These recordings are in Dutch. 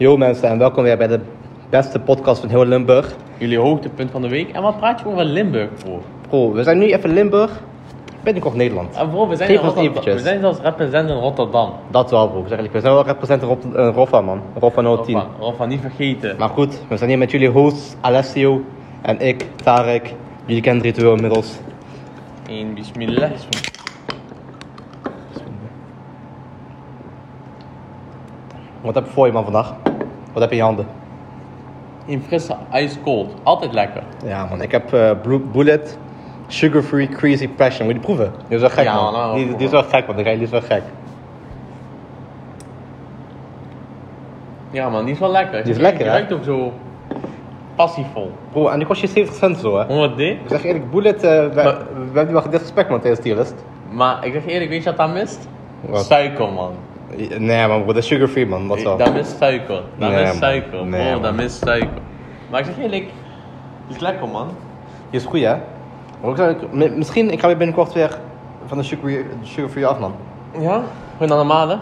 Yo mensen en welkom weer bij de beste podcast van heel Limburg. Jullie hoogtepunt van de week. En wat praat je over Limburg, bro? Bro, we zijn nu even Limburg, binnenkort Nederland. En Ah, bro, we zijn, Geef in ons Rotterdam- eventjes. we zijn zelfs represent in Rotterdam. Dat wel bro, ik zeg eigenlijk. We zijn wel representen op eh, Roffa man, Roffa 010. Roffa, Roffa, niet vergeten. Maar goed, we zijn hier met jullie hosts Alessio en ik, Tarek. Jullie kennen het ritueel inmiddels. In bismillah. Wat heb je voor je man vandaag? Wat heb je in je handen? In frisse ice cold. Altijd lekker. Ja man, ik heb eh, Blue- Bullet Sugar Free Crazy Passion. Wil je die proeven? Die is wel gek Ja, man. nou, die, die is wel gek man, die is wel gek. Ja man, die is wel lekker. Die is lekker, Die hè? ruikt ook zo passievol. Bro, en die kost je 70 cent zo hè? 100 D. Ik zeg eerlijk, Bullet, eh, we, Maar- we hebben wel disrespect man tijdens die list. Maar ik zeg eerlijk, weet je wat daar mist? Wat? Suiker man. Nee, man, dat is sugar free, man. Dat wel. Dat mist suiker. Dat Nee, mist man. suiker. Nee, bro, dat man. mist suiker. Maar ik zeg eerlijk, die is lekker man. Die is goed, hè? Maar ik zou- mi- misschien ik ga weer binnenkort weer van de sugar, de sugar free af, man. Ja? Gewoon dan normaal hè?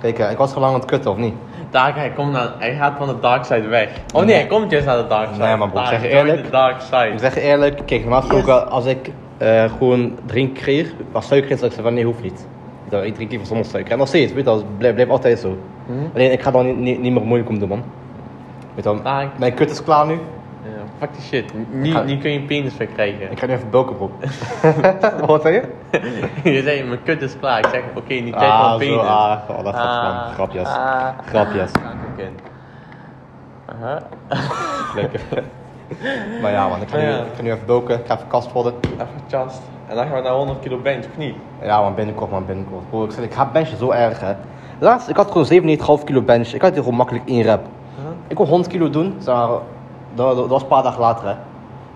Kijk, eh, ik was gewoon aan het kutten, of niet? Dark, hij, komt naar, hij gaat van de dark side weg. Of nee, hij komt juist naar de dark side. Nee, maar bro, ik Dark, zeg je join eerlijk. the dark Ik side. zeg je eerlijk, kijk, normaal gesproken, als ik eh, gewoon drink kreeg, was suiker in, zou ik zeggen van nee, hoeft niet. Ik dacht, Ik drink liever zonder suiker. En nog steeds, weet je, dat blijft blijft altijd zo. Alleen, ik ga dan niet, niet, niet meer moeilijk om doen, man. Weet je, wel, Ah, ik- mijn kut is klaar nu. Ja, fuck die shit. Nu, Ik ga- nu kun je een penis verkrijgen. Ik ga nu even bulken, bro. Wat zei je? je zei, mijn kut is klaar. Ik zeg, oké, nu krijg je Ah, wel een zo, penis. ah, oh, dat is man. Grapjes. ah, Grapjes. ah, oké. Aha. Lekker. maar ja, man, ik ga, nu, Ja. ik ga nu even boken, ik ga even kast worden. Even chast. En dan gaan we naar 100 kilo bench, of niet? Ja, man, binnenkort, man, binnenkort. Bro, ik, zeg, ik haat benchen zo erg, hè. Laatst, ik had gewoon 97,5 kilo bench. Ik had die gewoon makkelijk in rep. Ik kon 100 kilo doen, zeg maar, dat, dat, dat was een paar dagen later, hè.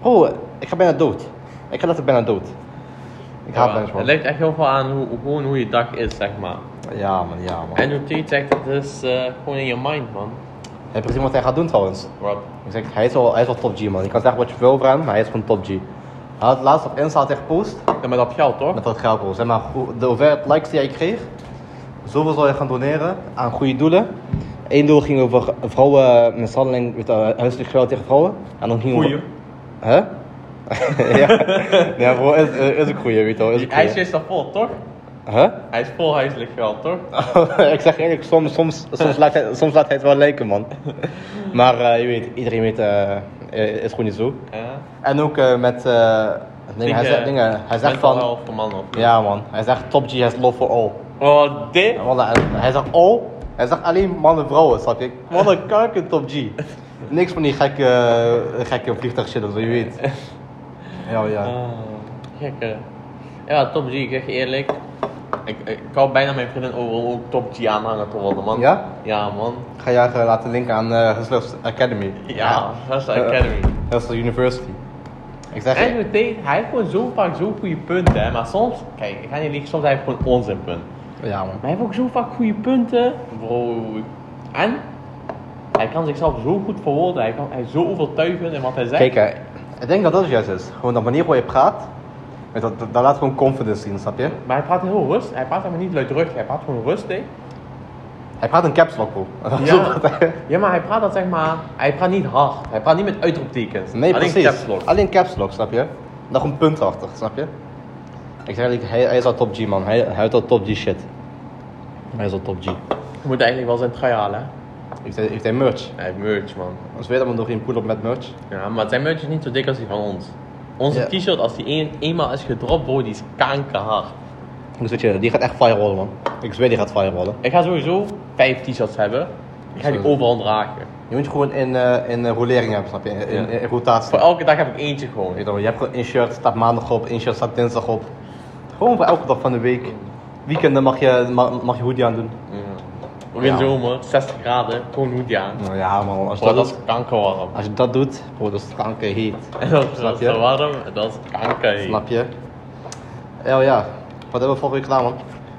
Bro, ik ga bijna dood. Ik ga letterlijk bijna dood. Ik haat bench, Het man. ligt echt heel veel aan hoe, gewoon hoe je dag is, zeg maar. Ja, man, ja, man. En hoe Tate zegt, het is eh, gewoon in je mind, man. Heb je gezien wat hij gaat doen, trouwens? Wat? Ik zeg, hij is wel, hij is wel top G, man. Je kan zeggen wat je wil over hem, maar hij is gewoon top G. Hij had laatst op Insta had hij gepost. Ja, maar dat geld, toch? Met dat geld, bro. Zeg maar, hoe- de hoeveelheid likes die jij kreeg, zoveel zal je gaan doneren aan goede doelen. Eén doel ging over vrouwen, mishandeling, weet je, eh, huiselijk geweld tegen vrouwen. En dan ging Goeie. Hè? ja. ja, bro, is, is ook goeie, weet je wel. Is ook Hij is goeie. juist al vol, toch? Huh? Hij is vol huiselijk geld, toch? Ah. ik zeg eerlijk, soms, soms, soms, laat hij, soms laat hij het wel lijken, man. Maar eh, je weet, iedereen weet, eh, eh, is gewoon niet zo. Ja. En ook eh, met eh, dingen, hij, zegt, dingen, hij zegt Mental van... health voor mannen, of niet? Ja man, hij zegt top G has love for all. Oh, dit? En wallah, hij- hij zegt all, hij zegt alleen mannen en vrouwen, snap je? Wat een kanker top G. Niks van die gekke, eh, gekke vliegtuig shit of zo, je weet. Ja, ja. Ah, gekke. Ja, Top G, ik zeg je eerlijk. Ik, ik wou bijna mijn vriendin overal ook Top G aanhangen te worden, man. Ja? Ja, man. Ga jij eh, laten linken aan eh Hustlers Academy? Ja, dat is de Academy. Eh, Hustlers University. Ik zeg En doet hij heeft gewoon zo vaak zo'n goede punten, hè. Maar soms, kijk, ik ga niet liegen, soms heeft hij gewoon onzinpunt. Ja man. Maar hij heeft ook zo vaak goede punten. Bro. En hij kan zichzelf zo goed verwoorden. Hij, kan, hij is zo overtuigend in wat hij zegt. Kijk, hè, ik denk dat dat het juist is. Gewoon de manier waarop je praat, weet dat, dat, dat laat gewoon confidence zien, snap je? Maar hij praat heel rustig. Hij praat helemaal niet luidruchtig. Hij praat gewoon rustig. Hij praat een caps lock, bro. Ja. ja, maar hij praat dat zeg maar. Hij praat niet hard. Hij praat niet met uitroeptekens. Nee, Alleen precies. caps lock. Alleen caps lock, snap je? Nog een punt achter, snap je? Ik zeg eigenlijk, hij, hij is al top G, man. Hij, hij houdt al top G shit. Hij is al top G. Je moet eigenlijk wel zijn trui halen. hè. Heeft hij, heeft hij merch? Hij heeft merch, man. Als weet dat we nog geen pull-up met merch. Ja, maar zijn merch is niet zo dik als die van ons. Onze Ja. t-shirt, als die een, eenmaal is gedropt, bro, die is kankerhard. Dus weet je, die gaat echt firewallen, man. Ik zweer, die gaat firewallen. Ik ga sowieso vijf t-shirts hebben. Ik ga die Zo. overal dragen. Je moet je gewoon in, eh, in eh, rolering hebben, snap je? In, in, in rotatie. Voor elke dag heb ik eentje gewoon. Weet je wel, je hebt gewoon een shirt, staat maandag op, een shirt staat dinsdag op. Gewoon voor elke dag van de week. Weekenden mag je, mag, mag je hoodie aan doen. Ook in Ja. de zomer, 60 graden, gewoon hoodie aan. Nou ja, man, als je Bro, dat, dat doet, is kankerwarm. als je dat doet, bro, dat is kankerheet. dat is je? zo warm, dat is kanker. hier. Snap je? Ja, ja. Wat hebben we volgende week gedaan, man?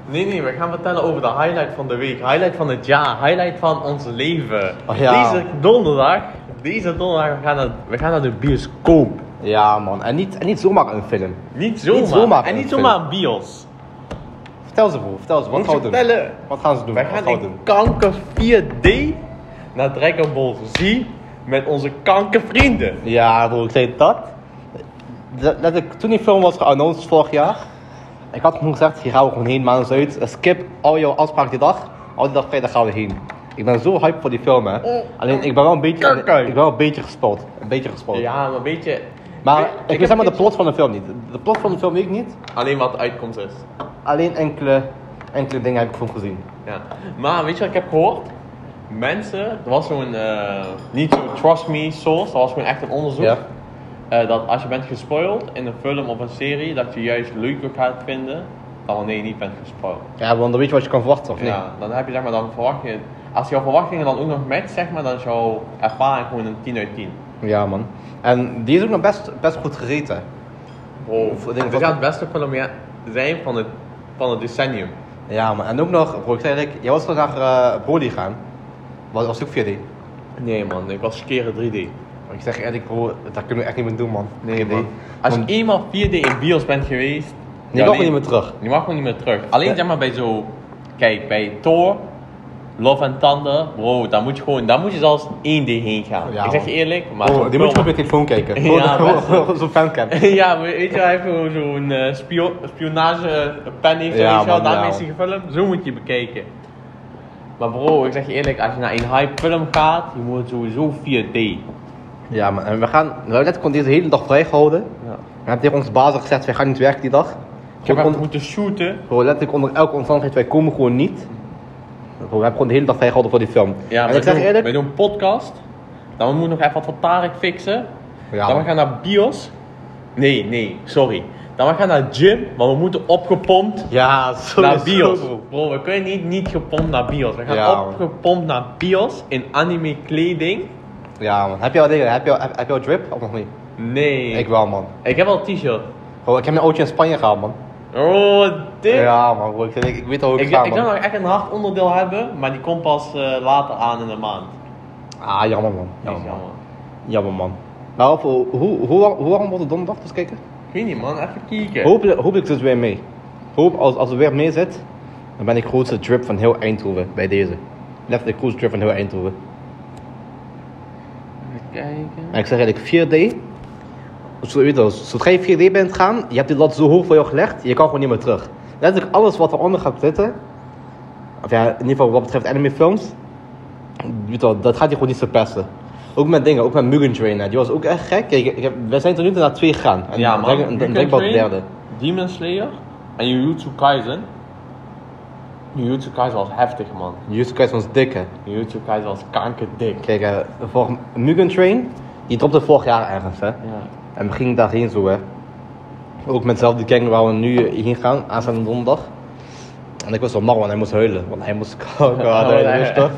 Nee, nee, we gaan vertellen over de highlight van de week, highlight van het jaar, highlight van ons leven. Oh ja. Deze donderdag, deze donderdag, we gaan naar, we gaan naar de bioscoop. Ja, man. En niet, en niet zomaar een film. Niet zomaar. Niet zomaar en een niet film. zomaar een bios. Vertel ze, bro. Vertel ze. Wat Moet gaan je we doen? vertellen. Wat gaan ze doen? Wij Wat gaan gaan we in doen? kanker 4D naar Dragon Ball Z met onze kankervrienden. Ja, bro, ik zei dat. dat, dat ik, toen die film was geannounced vorig jaar, ik had toen gezegd, hier gaan we gewoon heen, maar ons uit. Eh, Skip al jouw afspraak die dag, al die dag vrijdag gaan we heen. Ik ben zo hype voor die film, hè. Oh. Alleen, ik ben wel een beetje, ik Kijk. ben wel een beetje gespot. Een beetje gespot. Ja, maar weet je... Maar weet- ik, heb weet zeg maar de iets- plot van de film niet. De plot van de film weet ik niet. Alleen wat de uitkomst is. Alleen enkele, enkele dingen heb ik van gezien. Ja. Maar weet je wat ik heb gehoord? Mensen, er was zo'n, eh, niet zo'n trust me source, er was gewoon echt een onderzoek. Ja. Eh, dat als je bent gespoild in een film of een serie, dat je juist leuker gaat vinden dan wanneer je niet bent gespoild. Ja, want dan weet je wat je kan verwachten, of niet? Ja, dan heb je zeg maar dan verwachtingen. Als jouw verwachtingen dan ook nog matcht, zeg maar, dan is jouw ervaring gewoon een 10 uit 10. Ja, man. En die is ook nog best, best goed gereten. Bro, Of- dit gaat het beste film ja- zijn van het, van het decennium. Ja, man. En ook nog, bro, ik zei eigenlijk, jij was toch naar eh Broly gaan? Was, was ook 4D. Nee man, ik was keren 3D. Maar Ik zeg eerlijk, bro, dat kunnen we echt niet meer doen, man. Nee, nee. Als Als je ik... eenmaal 4D in bios bent geweest... Je mag niet meer terug. Je mag gewoon niet meer terug. Alleen Ja. zeg maar bij zo... Kijk, bij Thor, Love and Thunder, bro, daar moet je gewoon... Daar moet je zelfs 1D heen gaan. Ja, ik zeg man. je eerlijk, maar... Bro, zo'n die moet je op film- je telefoon kijken. Ja, Gewoon- best. gewoon Zo'n fancam. ja, maar weet je, hij heeft gewoon zo'n eh, spio- spionagepen heeft, Ja, weet je wel, man, daarmee ja. is hij gefilmd. Zo moet je bekijken. Maar bro, ik zeg je eerlijk, als je naar een hype film gaat, je moet sowieso 4D. Ja, man. En we gaan, we hebben net gewoon deze hele dag vrijgehouden. We Ja. hebben tegen onze baas gezegd, wij gaan niet werken die dag. Ik Gewoon heb hem onder, moeten shooten. bro, letterlijk onder elke omstandigheid, wij komen gewoon niet. Bro, we hebben gewoon de hele dag vrijgehouden voor die film. Ja, en we ik zeg doen, je eerlijk... we doen een podcast. Dan moet nog even wat van Tarek fixen. Ja, dan we man. gaan naar Bios. Nee, nee, sorry. Dan we gaan naar gym, want we moeten opgepompt Ja, zo naar Bios. Bro, we kunnen niet, niet gepompt naar Bios. We gaan Ja, man. opgepompt naar Bios in anime kleding. Ja, man. Heb je al dingen? Heb je al, heb, heb je al drip of nog niet? Nee. Ik wel, man. Ik heb al een t-shirt. Bro, ik heb een oudje in Spanje gehaald, man. Oh, dit. Ja, man. Bro, ik, ik, ik weet al hoe ik, Ik, ga, ik zou man. nog echt een hard onderdeel hebben, maar die komt pas eh, later aan in de maand. Ah, jammer, man. Dat Jammer, is man. jammer. Jammer, man. Nou, of, hoe, hoe, hoe, lang- hoe lang wordt het donderdag? Dus kijken. Ik weet niet man, even kijken. Hopelijk, hopelijk zit het dus weer mee. Hoop, als, als het weer mee zit, dan ben ik grootste drip van heel Eindhoven bij deze. Letterlijk grootste drip van heel Eindhoven. Even kijken. En ik zeg eigenlijk 4D. Zo, weet je, wel, zodra je 4D bent gaan, je hebt die lat zo hoog voor jou gelegd, je kan gewoon niet meer terug. Letterlijk alles wat eronder gaat zitten, of ja, in ieder geval wat betreft animefilms, weet je wel, dat gaat je gewoon niet verpesten. Ook met dingen, ook met Mugen Train, hè, die was ook echt gek. Kijk, ik heb, we zijn tot nu toe naar twee gegaan. En Ja ik man, denk- ik Mugen denk wel de Train, derde. Demon Slayer en Jujutsu Kaisen. Jujutsu Kaisen was heftig man. Jujutsu Kaisen was dik, hè. Jujutsu Kaisen was kankerdik. Kijk, eh, voor Mugen Train, die dropte vorig jaar ergens, hè. Ja. En we gingen daarheen zo, hè. Ook met dezelfde gang waar we nu eh, heen gaan, aanstaande donderdag. En ik was wel marwan, hij moest huilen, want hij moest kakken, Oh, huilen, nee. weet je toch?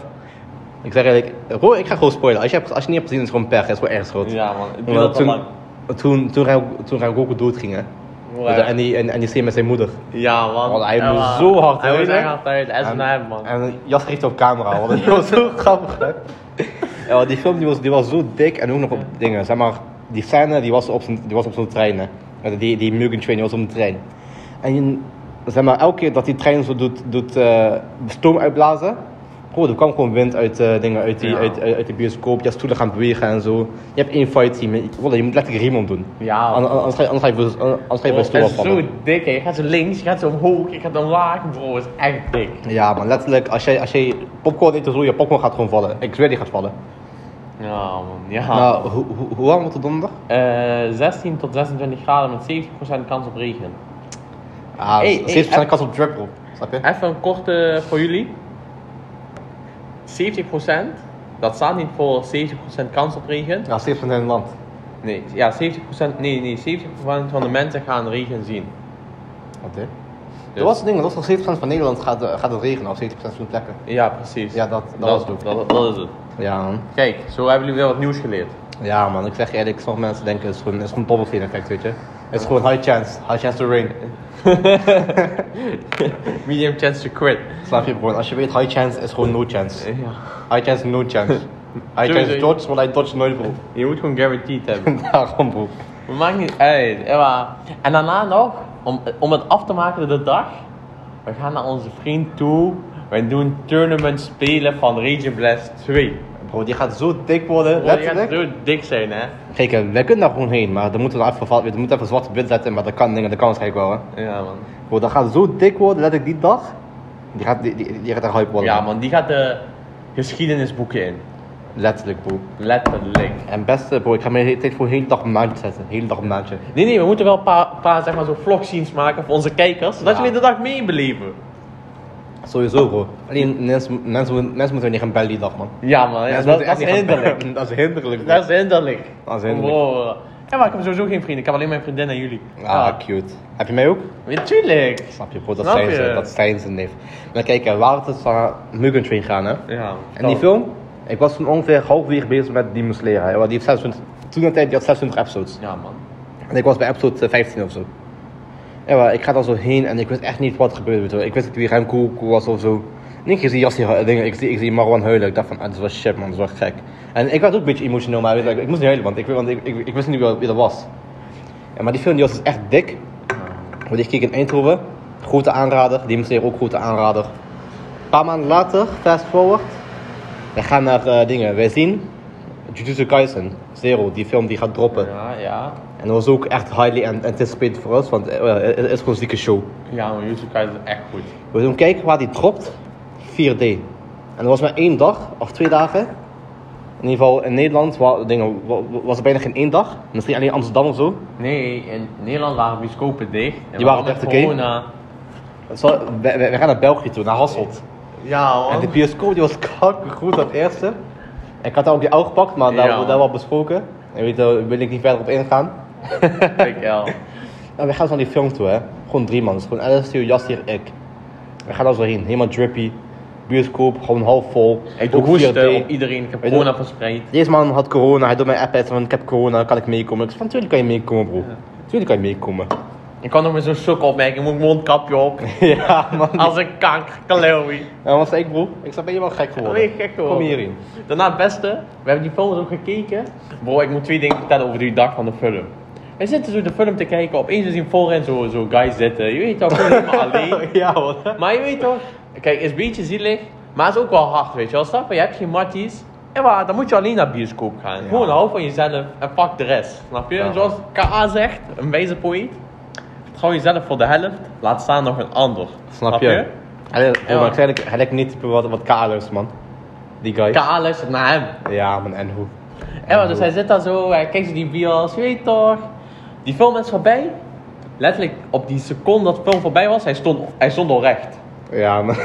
Ik zeg eigenlijk, Roy, ik ga gewoon spoilen. Als je, hebt- als je niet hebt gezien, is het gewoon pech, het is gewoon erg groot. Ja man, ik doe Omdat dat al toen, lang. toen, toen, Ren- toen Rengoku dood ging, hè. Right. En die, en, en die scene met zijn moeder. Ja man. Want hij Ja, moest man. zo hard Hij moest huilen. echt hard huilen, en zijn hem man. En Jas heeft op camera, want het was zo grappig, hè. Ja, want die film die was, die was zo dik en ook nog op dingen. Zeg maar, die scène die was op zijn- die was op zo'n trein, hè. Met Die, die Mugen Train die was op een trein. En je- zeg maar, elke keer dat die trein zo doet, doet eh, stoom uitblazen... Goh, er kwam gewoon wind uit, eh, dingen, uit, die, Ja. uit, uit, uit de bioscoop. Je stoelen gaan bewegen en zo. Je hebt één fight team. Je, wallah, je moet letterlijk riem om doen. Ja. An- an- Anders ga je- anders ga je voor- anders ga je voor Bro, een stoel het is afvallen. zo dik, hè. je gaat zo links, je gaat zo omhoog, je gaat omlaag, bro, het is echt dik. Ja, maar letterlijk, als jij, als jij popcorn eet, dan zo je popcorn gaat gewoon vallen. Ik zweer die gaat vallen. Ja man, ja. Nou, hoe, hoe, hoe warm wordt het donderdag? Eh, 16 tot 26 graden met 70% kans op regen. Ah, Hey, hey, hey, 70% eh. kans op drip, bro. Snap je? Even een korte voor jullie. 70%, dat staat niet voor 70% kans op regen. Ja, 70% in het land. Nee, ja, 70%, nee, nee, 70% van de mensen gaan regen zien. Wat hè? Dus- Dat was het ding, dat was toch 70% van Nederland gaat, eh, gaat het regenen, of 70% van de plekken. Ja, precies. Ja, dat- dat is het. dat, dat is het. Ja, man. Kijk, zo hebben jullie weer wat nieuws geleerd. Ja, man, ik zeg je eerlijk, sommige mensen denken het is gewoon, het is gewoon bubble effect, weet je. Het is gewoon high chance, high chance to rain. Medium chance to quit. Snap je, bro? Als je weet, high chance is gewoon no chance. Ja. High chance, no chance. High Sowieso. chance dodge, want hij dodge nooit, bro. Je moet gewoon guaranteed hebben. Daarom, bro. Het maakt niet uit. eh, maar- En daarna nog, om, om het af te maken de dag, we gaan naar onze vriend toe. Wij doen tournament spelen van Region Blast 2. Bro, die gaat zo dik worden, Bro, die gaat letterlijk. zo dik zijn, hè. Kijk, eh, wij kunnen daar gewoon heen, maar dan moeten we daar even, vat- we moeten even zwart op wit zetten, maar dat kan dingen, dat kan waarschijnlijk wel, hè. Ja, man. Bro, dat gaat zo dik worden, letterlijk die dag. Die gaat, die, die, die gaat er hype worden. Ja, man, die gaat de geschiedenisboeken in. Letterlijk, bro. Letterlijk. En beste, bro, ik ga mijn hele tijd voor de hele dag op een maandje zetten. Hele dag op een maandje. Nee, nee, we moeten wel een paar, paar zeg maar, zo vlogscenes maken voor onze kijkers, zodat Ja. jullie de dag meebeleven. Sowieso, bro. Alleen mensen, mensen, moeten- mensen moeten niet gaan bellen die dag, man. Ja, man, ja, Mensen dat, moeten dat echt is niet gaan hinderlijk. bellen. dat is hinderlijk, bro. Dat is hinderlijk. Dat is hinderlijk. Wow. Ja, maar ik heb sowieso geen vrienden, ik heb alleen mijn vriendin en jullie. Ah, cute. Heb je mij ook? natuurlijk. Snap je, bro, dat Snap zijn ze, je? dat zijn ze, neef. Maar kijk, eh, we waren dus naar Mugen Train gaan, hè. Ja. En die film, ik was toen ongeveer halfweg bezig met die moest leren. hè. Want Die heeft 26, toen de tijd, die had 26 episodes. Ja, man. En ik was bij episode eh, 15 of zo. Ja, maar ik ga daar zo heen en ik wist echt niet wat er gebeurde. weet je wel. Ik wist niet wie Remco was of zo. En ik zie Jassi hu- eh, dingen, ik zie, ik zie Marwan huilen. Ik dacht van, ah, dit is wel shit man, dit is wel gek. En ik werd ook een beetje emotioneel, maar weet je wel, ik, ik moest niet huilen, want ik, want ik, ik, ik wist niet wie, wie dat was. Ja, maar die film die was dus echt dik. Want ik keek in Eindhoven, grote aanrader, die moest ook grote aanrader. Een paar maanden later, fast forward, we gaan naar eh, dingen. Wij zien Jujutsu Kaisen, Zero, die film die gaat droppen. Ja, ja. En dat was ook echt highly an- anticipated voor ons, want eh, wel, het het is gewoon een zieke show. Ja, man, YouTube kijkt is echt goed. We gaan kijken waar die dropt, 4D. En dat was maar één dag, of twee dagen. In ieder geval in Nederland wa- dingen, wa- wa- was er bijna geen één dag. Misschien alleen Amsterdam of zo. Nee, in Nederland waren bioscopen dicht. En Die waarom waren met echt oké. corona. Zo, we, we- we gaan naar België toe, naar Hasselt. Ja, En de man. bioscoop die was goed dat eerste. Ik had daar ook die oog gepakt, maar daar Ja, hebben we man. daar wel besproken. En weet, je, daar wil ik niet verder op ingaan. Kijk, ja. Nou, we gaan zo naar die film toe, hè. Gewoon drie man. Dus gewoon Alistair, Jassier, ik. We gaan daar zo heen. Helemaal drippy. Bioscoop, gewoon half vol. Ik Ook hoestte 4D. op iedereen, ik heb Weet je- corona verspreid. Deze man had corona. Hij doet mij appen van ik heb corona, kan ik meekomen? Ik zei van tuurlijk kan je meekomen, bro. Tuurlijk kan je meekomen. Ik kan nog met zo'n sok opmerken, moet ik mondkapje op. ja, man. Als een kanker, klooi. En wat zei ik, bro? Ik ben helemaal gek Dan geworden. ben je gek geworden. Kom hierin. Daarna het beste, we hebben die films ook gekeken. Bro, ik moet twee dingen vertellen over die dag van de film. We zitten zo de film te kijken, opeens we zien voorin zo- zo'n guy zitten. Je weet toch, gewoon helemaal alleen. ja, man. Maar je weet toch, kijk, is een beetje zielig, maar is ook wel hard, weet je wel. Snap je, je hebt geen matties. En waar, dan moet je alleen naar de bioscoop gaan. Ja. Gewoon hou van jezelf en pak de rest. Snap je? Ja. Zoals K.A. zegt, een wijze poëet. Vertrouw jezelf voor de helft, laat staan nog een ander. Snap je? Hij, bro, Ja, maar man. ik zei, eigenlijk- hij lijkt niet type wat, wat kaders, man. Die guy. K.A. luistert naar hem. ja, man, en hoe? Ja, maar dus hij zit daar zo, hij kijkt zo die bios, je weet toch. Die film is voorbij. Letterlijk op die seconde dat de film voorbij was, hij stond, hij stond al recht. Ja, man.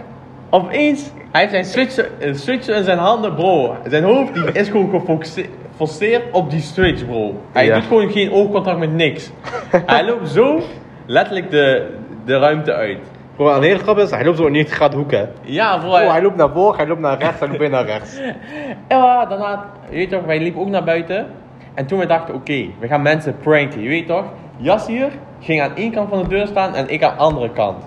Opeens, hij heeft zijn switch, eh, switch in zijn handen, bro. Zijn hoofd die is gewoon gefocusse- geforceerd op die switch, bro. Hij Ja. doet gewoon geen oogcontact met niks. hij loopt zo letterlijk de, de ruimte uit. Bro, een hele grap is, hij loopt zo niet gaat hoeken. Ja, bro. Oh, hij loopt naar boven, hij loopt naar rechts, hij loopt weer naar rechts. Ja, daarna, je weet toch, wij liepen ook naar buiten. En toen we dachten, oké, we gaan mensen pranken, je weet toch. Jas hier ging aan één kant van de deur staan en ik aan de andere kant.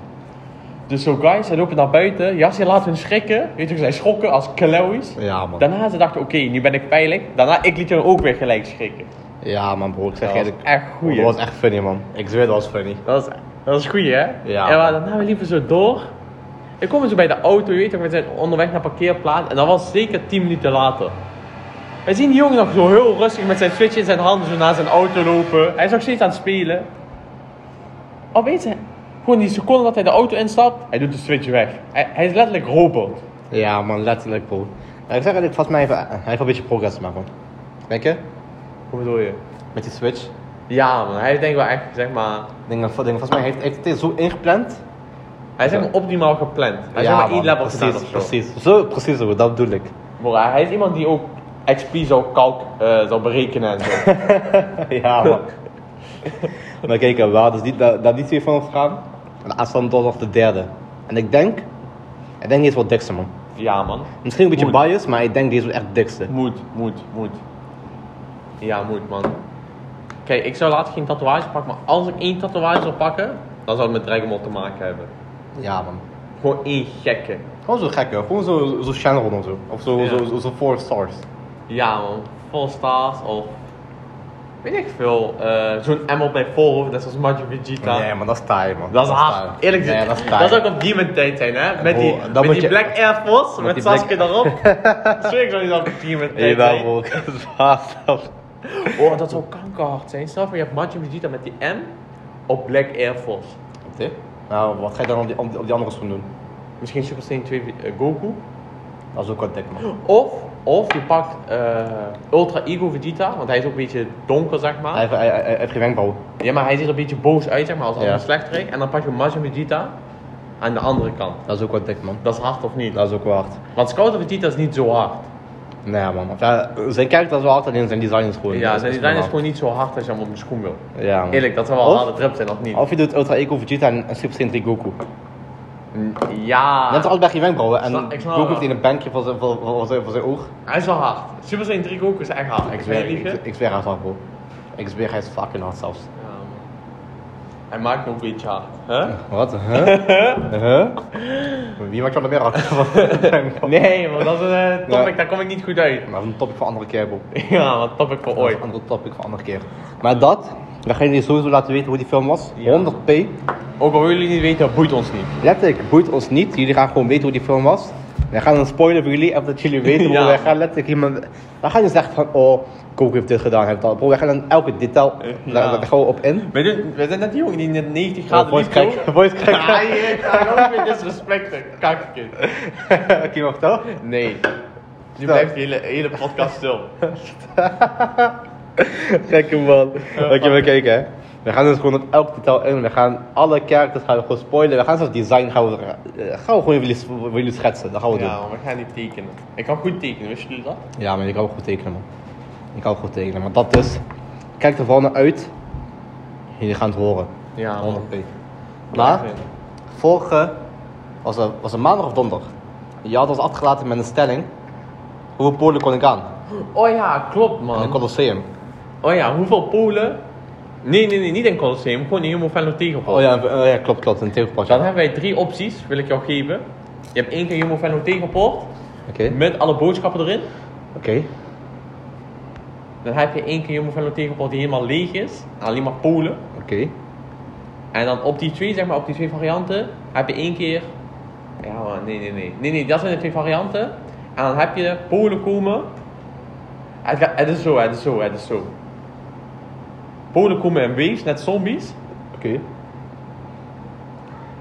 Dus zo guys, zij lopen naar buiten. Jas hier laat hun schrikken. Weet je, zij schrokken als klauwies. Ja, man. Daarna ze dachten, oké, nu ben ik veilig. Daarna, ik liet hun ook weer gelijk schrikken. Ja, man, bro, ik zeg Dat was eerlijk. echt Bro, goed. dat was echt funny, man. Ik zweer, dat was funny. Dat is, dat is goed, hè? Ja. En maar daarna we liepen zo door. Ik kom zo bij de auto, je weet toch, we zijn onderweg naar parkeerplaats. En dat was zeker 10 minuten later. We zien die jongen nog zo heel rustig met zijn switch in zijn handen zo naar zijn auto lopen. Hij is nog steeds aan het spelen. Opeens, hè, gewoon die seconde dat hij de auto instapt, hij doet de switch weg. Hij, hij is letterlijk robot. Ja, man, letterlijk, bro. Nou, ik zeg eerlijk, vast mij even, hij heeft wel een beetje progress gemaakt, man. Denk je? Hoe bedoel je? Met die switch. Ja man, hij heeft denk ik wel echt, zeg maar... Dingen, dingen, volgens mij heeft, heeft het dit zo ingepland. Hij is zeg maar optimaal gepland. Hij is zeg maar man, één level gedaan precies, of zo. precies. Zo, precies, bro, dat bedoel ik. Maar hij- hij is iemand die ook XP zou, kalk, eh, zou berekenen en zo. ja, man. maar kijk, we hadden dus die, daar, daar die twee van ons gaan. En aanstaande donderdag de derde. En ik denk, ik denk die is wel dikste, man. Ja, man. Misschien een beetje Moet. biased, maar ik denk die is wel echt dikste. Moet, moet, moet. Ja, moet, man. Kijk, ik zou later geen tatoeage pakken, maar als ik één tatoeage zou pakken, dan zou het met Dragon Ball te maken hebben. Ja, man. Gewoon één gekke. Gewoon zo gek, hè. Gewoon zo, zo Shenron of zo. Of zo, Ja. zo, zo, zo Four Stars. Ja, man. Full stars of weet ik veel, eh, zo'n emmer bij Volvo, net zoals Machu Vegeta. Nee, maar dat is taai, man. Dat is taai. hard. Eerlijk Nee, gezegd, dat is dat taai. is ook op Demon-tijd zijn, hè? Met die, Bro, dan met moet die je- Black Air Force, met, die Black- Sasuke daarop. Zweer ik zou niet op Demon-tijd Jawel, zijn. bro. Dat is haast. Oh, dat zou kankerhard zijn. Stel voor, je hebt Machu Vegeta met die M op Black Air Force. Nou, wat ga je dan op die, op die, op die andere schoen doen? Misschien Super Saiyan 2 Vi- eh, Goku. Dat is ook wat dik, man. Of, of je pakt eh, Ultra Ego Vegeta, want hij is ook een beetje donker, zeg maar. Hij heeft- hij- hij- hij heeft geen wenkbrauw. Ja, maar hij ziet er een beetje boos uit, zeg maar, als Ja. een slechterik. En dan pak je Machu Vegeta aan de andere kant. Dat is ook wat dik, man. Dat is hard of niet? Dat is ook wel hard. Want Scout Vegeta is niet zo hard. Nee, man. Ja, zijn karakter is wel hard, alleen zijn design is gewoon. Ja, zijn design is normaal. gewoon niet zo hard als je hem op een schoen wil. Ja, man. Eerlijk, dat zou wel een Of- harde trip zijn, of niet? Of je doet Ultra Eco Vegeta en en Super Saiyan 3 Goku. Ja, Net als bij geen wenkbrauwen. En Snap- Ah. ik snap Goku wel. heeft in een bankje voor zijn, voor, voor, zijn, voor zijn oog. hij is wel hard. Super Saiyan 3 Goku is echt hard. Ik Ik zweer, weet niet. ik, ik zweer hij is hard, bro. Ik zweer hij is fucking hard zelfs. Hij maakt me een beetje hard. Huh? Wat? Huh? huh? Wie maakt jou er meer hard? nee. Nee, want dat is een eh, topic, Ja. daar kom ik niet goed uit. Maar dat is een topic voor andere keer, bro. ja, wat topic voor Dat is ooit. een andere topic voor andere keer. Maar dat, we gaan jullie sowieso laten weten hoe die film was. Ja. 100p. Ook al willen jullie niet weten, dat boeit ons niet. Letterlijk, boeit ons niet. Jullie gaan gewoon weten hoe die film was. Wij gaan een spoiler voor jullie, even dat jullie weten. Ja. hoe Wij gaan letterlijk iemand... Wij gaan niet zeggen van, oh, Coco heeft dit gedaan, heeft dat. Bro, wij gaan dan elke detail, Ja. daar, daar gaan we op in. Weet je, we zijn net die jongen die net 90 graden voice liep, joh. crack, voice crack. Ja, je gaat ook weer disrespecten, kakkind. Oké, mag dat? Nee. Nu Zo. blijft de hele, hele podcast stil. Gekke man. Oké, fuck. we kijken hè. We gaan dus gewoon op elk detail in. We gaan alle characters gaan we gewoon spoilen. We gaan zelfs design gaan we, eh, gaan we gewoon voor jullie, voor jullie schetsen. Dat gaan we Ja, maar we gaan niet tekenen. Ik kan goed tekenen, wisten jullie dat? doen. Ja, maar je kan ook goed tekenen man. Je kan ook goed tekenen. Maar dat dus. Kijk er vooral naar uit. Jullie gaan het horen. Ja, 100p. Maar Ah? vorige was een, was een maandag of donderdag. Je had ons afgelaten met een stelling. Hoeveel polen kon ik aan? Oh ja, klopt En een man. Colosseum. Oh ja, hoeveel Polen? Nee, nee, nee, niet in Colosseum, gewoon in Humo Venlo tegenval. Oh ja, eh, ja klopt, klopt. Een tegenpotje. Dan hebben wij drie opties, wil ik jou geven. Je hebt één keer Humo Venlo tegenpoort, Oké. met alle boodschappen erin. Oké. Dan heb je één keer Humo Venlo tegenpoort die helemaal leeg is, alleen maar Polen. Oké. En dan op die twee, zeg maar, op die twee varianten, heb je één keer. Ja, maar nee, nee, nee. Nee, nee, dat zijn de twee varianten. En dan heb je Polen komen. Het, ga- het is zo, het is zo, het is zo. Polen komen in waves, net zombies. Oké.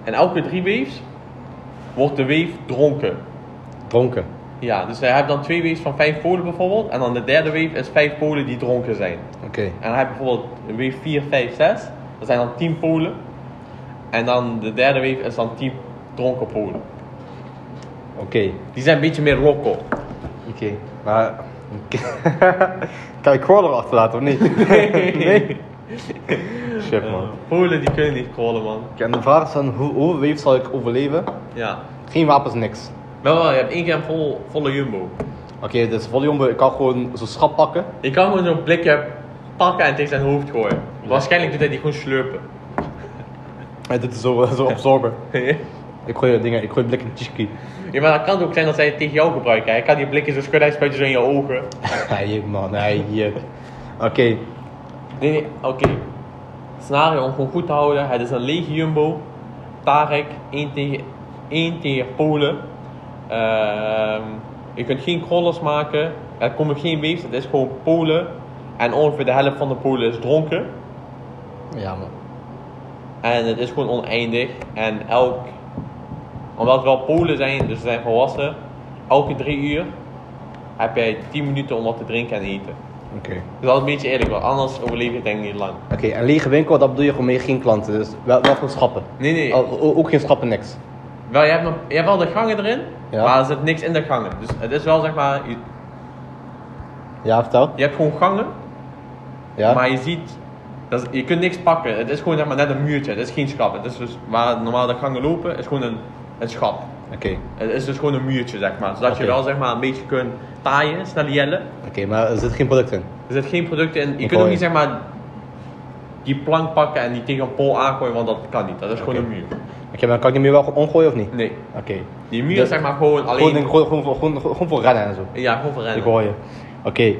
En elke drie waves wordt de wave dronken. Dronken. Ja, dus je hebt dan twee waves van vijf polen bijvoorbeeld. En dan de derde wave is vijf polen die dronken zijn. Oké. En dan heb je bijvoorbeeld wave 4, 5, 6. Dat zijn dan 10 polen. En dan de derde wave is dan 10 dronken polen. Oké. Die zijn een beetje meer rocko. Oké. Maar... kan ik crawler achterlaten of niet? nee. Shit man. Polen die kunnen niet crawlen, man. Oké, en de vraag is dan, hoe, hoe weef zal ik overleven? Ja. Geen wapens, niks. Wel, wel, je hebt één keer een vol, volle jumbo. Oké, dus volume, ik kan gewoon zo'n schap pakken. Je kan gewoon zo'n blikje pakken en tegen zijn hoofd gooien. Waarschijnlijk doet hij die gewoon slurpen. En dit is zo, zo absorber. Ik gooi dingen, ik gooi blikken tjishki. ja, maar dat kan ook zijn dat zij het tegen jou gebruiken. Hij kan die blikjes zo schudden, hij spuit je zo in je ogen. Hey man, hey juk. Oké. Nee, nee, oké. Scenario om gewoon goed te houden. Het is een lege jumbo. Tarek, 1 tegen, 1 tegen Polen. Ehm, je kunt geen crawlers maken. Er komen geen waves. Het is gewoon Polen. En ongeveer de helft van de Polen is dronken. Ja man. En het is gewoon oneindig. En elk... Omdat het wel Polen zijn, dus ze zijn volwassen. Elke drie uur heb jij 10 minuten om wat te drinken en eten. Oké. Dus dat is een beetje eerlijk, want anders overleef je denk ik niet lang. Oké, en lege winkel, dat bedoel je gewoon mee geen klanten. Dus wel, wel gewoon schappen. Nee, nee. O- o- ook geen schappen, niks. Wel, je hebt, nog, je hebt wel de gangen erin, Ja. maar er zit niks in de gangen. Dus het is wel zeg maar, je, Ja, vertel. je hebt gewoon gangen, Ja? maar je ziet, dat is- je kunt niks pakken. Het is gewoon zeg maar, net een muurtje, het is geen schap. Het is dus, waar normaal de gangen lopen, is gewoon een, een schap. Oké. Het is dus gewoon een muurtje zeg maar, zodat je Oké. wel zeg maar een beetje kunt taaien, snel jellen. Oké, maar er zit geen product in. Er zit geen producten in, je Ik kunt ook hoor niet je. zeg maar die plank pakken en die tegen een pol aangooien, want dat kan niet. Dat is gewoon Oké. een muur. Oké, maar kan ik hem hier wel gewoon omgooien of niet? Nee, Oké. die muur Dus- is zeg maar gewoon Gewoon, alleen, gewoon, gewoon, voor- gewoon, gewoon voor rennen en zo. ja gewoon voor Ik rennen. hoor je. Oké.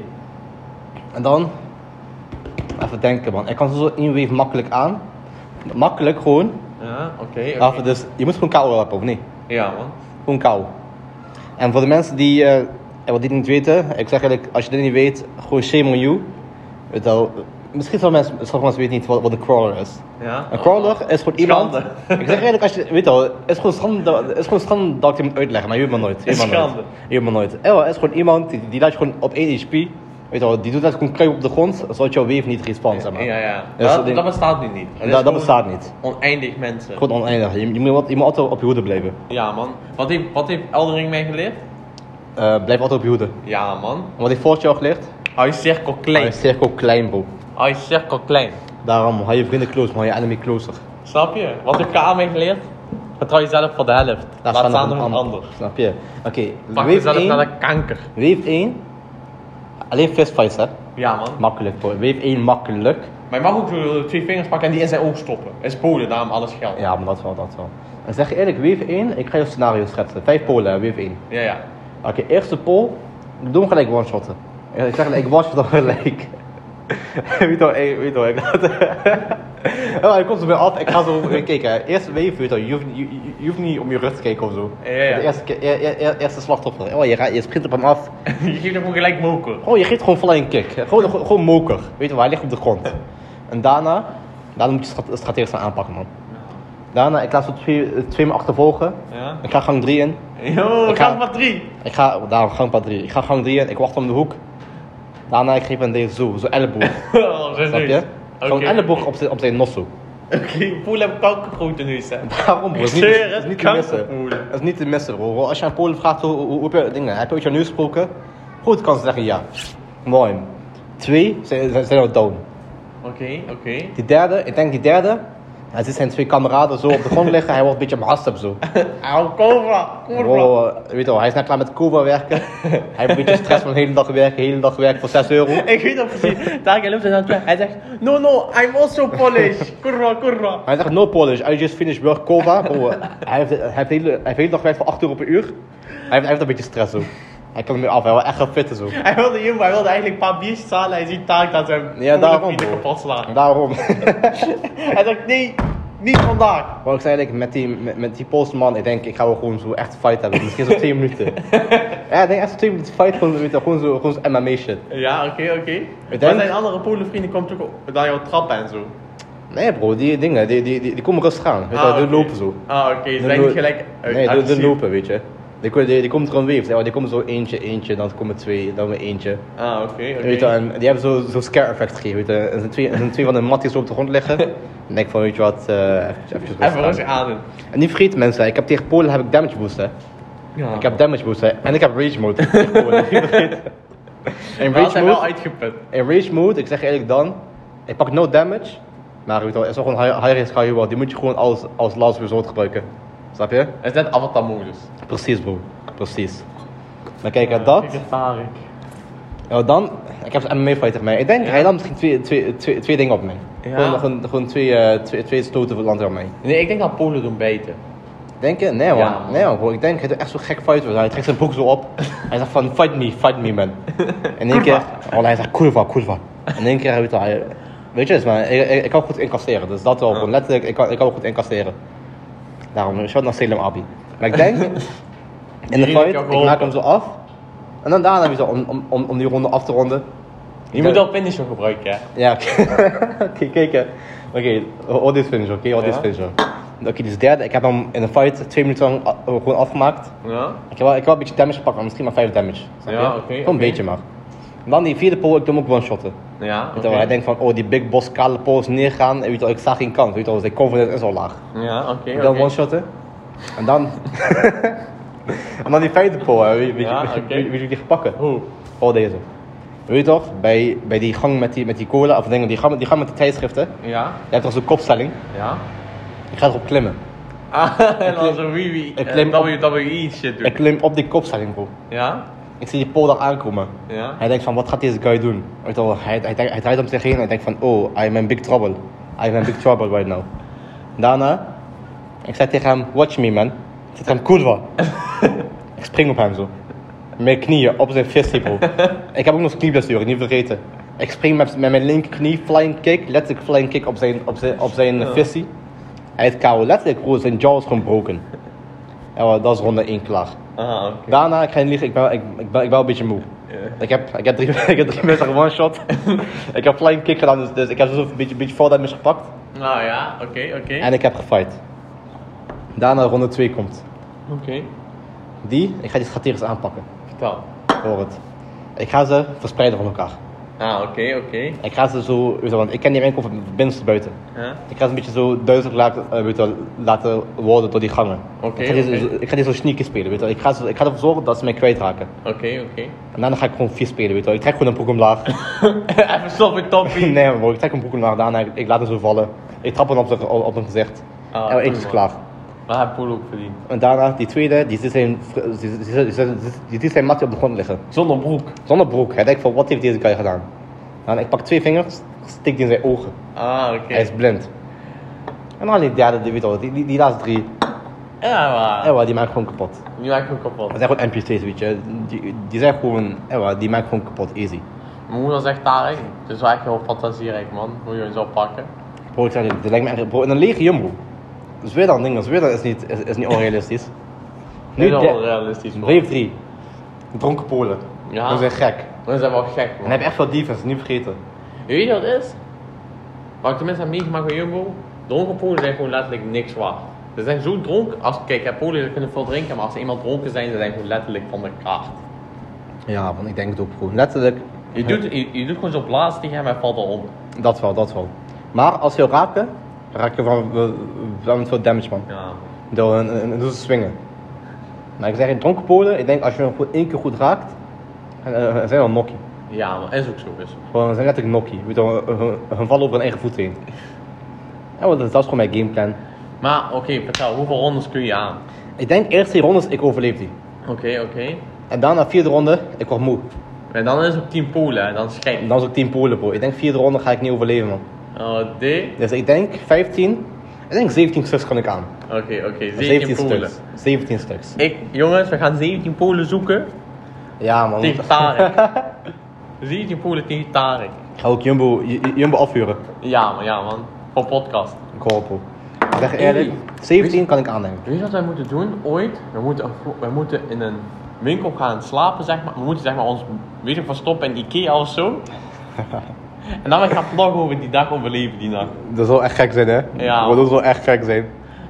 En dan? Oké, Even denken, man. Ik kan zo één wave makkelijk aan. Makkelijk gewoon. Ja, oké. oké. Even dus, je moet gewoon kou hebben, of niet? Ja, man. Gewoon kou. En voor de mensen die, eh, wat dit niet weten, ik zeg eigenlijk, als je dit niet weet, gewoon shame on you. Weet wel, misschien sommige mensen, sommige mensen weten niet wat, wat een crawler is. Ja. Een crawler is gewoon iemand. Schande. Ik zeg eigenlijk, als je, weet al, het is gewoon schande, dat- het is gewoon schande dat ik hem uitleg, maar je weet maar nooit. Je weet maar nooit. Schande. Je weet maar nooit. Eh, wel, het is gewoon iemand die, die laat je gewoon op 1 HP, weet al, die doet dat gewoon kruip op de grond, zodat jouw wave niet respawnt, zeg maar. Ja, ja. Dus dat, dat ding- dat bestaat nu niet. Het Dat, is dat gewoon bestaat niet. Oneindig mensen. Gewoon oneindig. Je, je moet, wat- je moet altijd op je hoede blijven. Ja, man. Wat heeft, wat heeft Eldering mij geleerd? Eh, blijf altijd op je hoede. Ja, man. En wat heeft Fortje al geleerd? Hou je cirkel Hij klein. is cirkel klein, bro. Hou je cirkel klein. Daarom, hou je vrienden close, maar hou je enemy closer. Snap je? Wat heeft KA mij geleerd? Vertrouw jezelf voor de helft. Laat staan staan nog op een een ander. ander. Snap je? Oké, Pak wave jezelf naar 1. de kanker. Wave 1. Alleen fistfights, hè? Ja, man. Makkelijk, bro. Wave 1 makkelijk. Maar je mag ook de twee vingers pakken en die in zijn oog stoppen. Het is Polen, daarom alles geld. Ja, maar dat wel, dat wel. Ik zeg je eerlijk, wave 1, ik ga je scenario schetsen. Vijf polen, hè, wave 1. ja. ja. Oké, eerste pol, ik doe hem gelijk one-shotten. Ja, Ik zeg gelijk, ik one-shot hem gelijk. weet wel, ik, weet wel, ik laat... Ja, hij komt er weer af, ik ga zo weer kijken. hè. Eerste wave, weet wel, je, hoeft, je, je- je hoeft niet om je rug te kijken of zo. Ja, ja. De eerste, keer- e- e- e- eerste slachtoffer. Oh, je, ra- je springt op hem af. je geeft hem gewoon gelijk moker. Oh, je geeft gewoon flying kick. hè. Gewoon, gewoon, gewoon moker. Weet je wel, hij ligt op de grond. En daarna, daarna moet je strate- strategisch gaan aanpakken, man. Daarna, ik laat zo twee, twee me achtervolgen. Ja. Ik ga gang 3 in. Yo, Ik ga ga- maar drie. Ik ga, daarom gangpad 3. Ik ga gang 3 in, ik wacht om de hoek. Daarna ik geef hem deze zo, zo elleboog. Oh, zo Snap je? Gewoon elleboog op zijn, op zijn nosso. Oké, Poel heeft kankergroeten nu, hè. Daarom bro, is niet, Ik zweer het, is niet te missen. kankerpoelen. Dat is niet te missen bro. Als je aan Polen vraagt hoe, hoe, hoe heb je dingen, heb je ooit jouw nieuws gesproken? Goed kan ze zeggen ja. Mooi. Twee zijn, zijn, zijn al down. Oké, oké. Die derde, ik denk die derde, hij ziet zijn twee kameraden zo op de grond liggen, hij wordt een beetje behast zo. Au, Cobra, Cobra. Bro, eh, weet je wel, hij is net klaar met Cuba werken. hij heeft een beetje stress van de hele dag werken, de hele dag werken voor 6 euro. Ik weet dat precies. Daar loopt hij naartoe. Hij zegt, no, no, I'm also Polish. Kurwa, kurwa. Hij zegt no Polish, I just finished work, Cuba. Bro, eh, hij heeft, hij heeft de hele, hij heeft de hele dag gewerkt voor 8 euro per uur. Hij heeft, hij heeft een beetje stress zo. Hij kan er meer af, hij wil echt gaan fitten zo. Hij wilde jumbo, hij wilde eigenlijk een paar biertjes halen. Hij ziet Taak dat zijn Ja, daarom. vrienden bro. kapot slaan. Daarom. Hij zegt, nee, niet vandaag. Maar ik zei eigenlijk, met die, met, met die Poolse man, ik denk, ik ga wel gewoon zo echt fight hebben. Misschien zo'n 2 minuten. ja, ik denk echt zo'n 2 minuten fight, gewoon, weet je, gewoon zo'n gewoon zo MMA shit. Ja, oké, oké. Maar denk- zijn andere Polenvrienden komen toch ook naar jouw trap en zo. Nee bro, die dingen, die, die, die, die komen rustig aan. Weet je, Ah, die oké. lopen zo. Ah, oké, ze Die zijn lo- niet gelijk uit- Nee, die- die, agressief. lopen, weet je. Die, ko- die, die komt gewoon waves. hè. Die komen zo eentje, eentje, dan komen twee, dan weer eentje. Ah, oké, Weet je, oké. en die hebben zo, zo scare effect gegeven. Weet je. Er zijn twee, er zijn twee van de matties zo op de grond liggen. En ik denk van, weet je wat, eh eventjes rustig Even aan. rustig ademen. En niet vergeten mensen, ik heb tegen Polen heb ik damage boost hè. Ja. Ik heb damage boost hè. En ik heb rage mode. tegen Polen. Niet vergeten. in, Maar had rage hij wel mode uitgeput. in rage mode, ik zeg eerlijk dan, ik pak no damage. Maar weet je wel, het is wel gewoon high, high risk, high reward. Die moet je gewoon als, als last resort gebruiken. Snap je? Het is net avatarmodus. Precies bro, precies. Maar kijk, eh, dat... Ja, dan, ik heb een MMA fighter mij. Ik denk, hij nam misschien twee, twee, twee, twee dingen op mij. Ja. Gewoon, gewoon, gewoon twee, eh, twee, twee stoten van land op mij. Nee, ik denk dat Polen doen bijten. Denk je? Nee man. Ja, man. Nee man, bro. ik denk, hij doet echt zo'n gek fight. Hij trekt zijn broek zo op. Hij zegt van, fight me, fight me man. In één keer, oh, hij zegt, kurva, kurva. In één keer, weet je, hij- weet je eens man, ik, ik, ik kan goed incasseren. Dus dat wel, gewoon letterlijk, ik kan, ik kan goed incasseren. Daarom, shout naar Salem Abi. Maar ik denk, in de Die heb ik fight, ook ik maak hem geholpen. zo af. En dan daarna weer zo, om, om, om, om die ronde af te ronden. Je moet wel finisher gebruiken, hè. Ja, oké, Oké, kijk hè. Oké, all this finish, oké, all this Ja. finish. hoor. Oké, dus derde, ik heb hem in een fight twee minuten lang a- gewoon afgemaakt. Ja? Ik heb, wel, ik heb wel een beetje damage gepakt, maar misschien maar vijf damage. snap je? Ja, oké, Gewoon een oké. beetje maar. En dan die vierde pole, ik doe hem ook one-shotten. Ja, Weet je wel, Hij denkt van, oh die big boss kale pols neergaan, en weet je wel, ik zag geen kans, weet je wel, zijn confidence is al laag. Ja, oké, Ik dan oké. one-shotten. En dan... en dan die vijfde pole, hè, weet, weet, Ja, je- weet, je- oké. weet je wie die gaat pakken? Hoe? Oh, deze. Weet je toch, bij, bij die gang met die, met die cola, of dingen, die gang, die gang met die tijdschriften, Ja? je hebt toch zo'n kopstelling, Ja? ik ga erop klimmen. Ah, en dan zo wie wie Ik eh, klim op- WWE shit Ik doen. klim op die kopstelling, bro. Ja? Ik zie die pol daar aankomen. Ja? Hij denkt van, wat gaat deze guy doen? Weet je wel, hij, hij, denkt- hij draait om zich heen en hij denkt van, oh, I'm in big trouble. I'm in big trouble right now. Daarna, ik zei tegen hem, watch me man. Ik zei tegen hem, kurwa. ik spring op hem zo. Met mijn knieën op zijn fist, bro. ik heb ook nog knieblessure, niet vergeten. Ik spring met, met mijn linkerknie, flying kick, letterlijk flying kick op zijn, op zijn, op zijn Ja. visie. Hij is KO, letterlijk, broer, zijn jaw is gewoon broken. Ja, maar dat is ronde 1 klaar. Ah, oké. Daarna, ik ga niet liegen, ik ben, ik, ik ben, ik ben wel een beetje moe. Ja. Ik heb, ik heb drie, ik heb drie mensen one shot. ik heb flying kick gedaan, dus, dus ik heb zo een beetje, beetje fall damage gepakt. Nou ja, oké, oké. En ik heb gefight. Daarna ronde 2 komt. Oké, Die, ik ga die strategisch aanpakken. vertel. Hoor het. Ik ga ze verspreiden van elkaar. Ah, oké, oké. Ik ga ze zo, weet je, want ik ken die enkel van binnenste buiten. Huh? Ik ga ze een beetje zo duizelig laten, eh, weet je, wel, laten worden door die gangen. Oké, ik, ga die, zo- oké. ik ga die zo sneaky spelen, weet je. wel. Ik ga, ze, ik ga ervoor zorgen dat ze mij kwijtraken. Oké, oké. En daarna ga ik gewoon vies spelen, weet je. wel. Ik trek gewoon een broek omlaag. Even stoppen, toppie. nee, bro, ik trek een broek omlaag, daarna ik, ik laat hem zo vallen. Ik trap hem op, zijn- op mijn gezicht. Ah, en ik doe is maar. klaar. Maar hij heeft Poel ook verdiend. En daarna, die tweede, die ziet zijn, vri- die, die, die, die- die- die zijn matje op de grond liggen. Zonder broek. Zonder broek. Hij denkt van, wat heeft deze guy gedaan? En ik pak twee vingers, steek die in zijn ogen. Ah, oké. Hij is blind. En dan die derde, die weet al, die, die, die laatste drie, Ja, maar. ewa, die maakt gewoon kapot. Nu maak ik me kapot. Dat zijn gewoon NPC's, weet je. Die, die zijn gewoon, ewa, die maakt gewoon kapot, easy. Mijn moeder zegt daar, hè, het is wel echt heel fantasierijk, man. Moet je eens oppakken. Bro, ik zeg je, dat lijkt me echt, bro, in een lege jumbo. Dus weer dan dingen, dus weer dan is niet, is, is niet onrealistisch. Nu is de- dat wel realistisch, man. Wave 3. Dronken Polen. Ja. Dat is gek. We zijn wel gek, En man. heb echt veel defense, niet vergeten. Weet je wat het is? Wat ik tenminste heb meegemaakt bij Jumbo, dronken Polen zijn gewoon letterlijk niks waard. Ze zijn zo dronken, als, kijk, hè, Polen ze kunnen veel drinken, maar als ze eenmaal dronken zijn, ze zijn gewoon letterlijk van de kaart. Ja, want ik denk het ook gewoon. Letterlijk. Je doet, je, je doet gewoon zo'n blaas tegen hem en valt al om. Dat wel, dat wel. Maar als je raken, raak je van, van met veel damage man. Ja. Door een, een, een- door te swingen. Maar ik zeg in dronken Polen, ik denk als je hem goed één keer goed raakt, eh, eh, zijn wel nokkie. ja, maar is ook zo. Is. Gewoon, ze zijn letterlijk nokkie. Weet je, wel, hun- hun- hun vallen over hun eigen voeten heen. Ja, want dat is gewoon mijn gameplan. Maar oké, vertel, hoeveel rondes kun je aan? Ik denk eerst die rondes, ik overleef die. Oké, oké. En daarna vierde ronde, ik word moe. En dan is het op 10 Polen, hè, dan schijnt. En dan is ook 10 Polen bro. Ik denk vierde ronde ga ik niet overleven man. Oh, D. Dus ik denk 15, ik denk 17 stuks kan ik aan. Oké, oké, 17 Polen. stuks. 17 stuks. Ik, jongens, we gaan 17 Polen zoeken Ja man. tegen Tarek. 17 Polen tegen Tarek. Ik ga ook Jumbo, J- J- Jumbo afhuren. Ja, man, ja, man. Voor podcast. Ik hoor op bro. Ik zeg je eerlijk, 17 kan ik aannemen. Weet je wat wij moeten doen ooit? We moeten, we moeten in een winkel gaan slapen, zeg maar. We moeten zeg maar, ons weet ik, verstoppen in Ikea of zo. en dan gaan we vloggen hoe we die dag overleven, die nacht. Dat zou echt gek zijn hè? Ja. Bro, Dat zou echt gek zijn.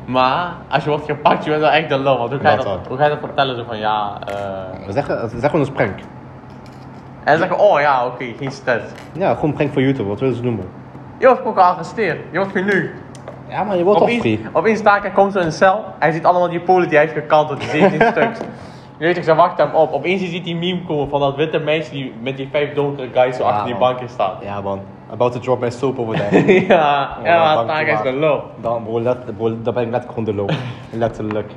Maar als je wordt gepakt, je bent wel echt de lul. Want hoe ga je Dat dat, wel. hoe ga je dat vertellen? Zo van ja. eh. We zeggen, we zeggen een prank. En zeggen, oh ja, oké, geen stress. Ja, gewoon een prank voor YouTube, wat willen ze doen bro? Je wordt ook gearresteerd, je wordt nu. Ja maar je wordt toch free. Op Instagram komt zo in een cel, hij ziet allemaal die polen die hij heeft gekanteld, die 17 stuks. Je weet ik, ze wachten hem op. Opeens je ziet die meme komen van dat witte meisje die met die vijf donkere guys zo Ja, achter die man. bank in staat. Ja man, about to drop my soap over there. ja, Oh, ja, dank maar je Tarek is maar. de lul. Dan bro, let, bro, dan ben ik letterlijk gewoon de loop. letterlijk.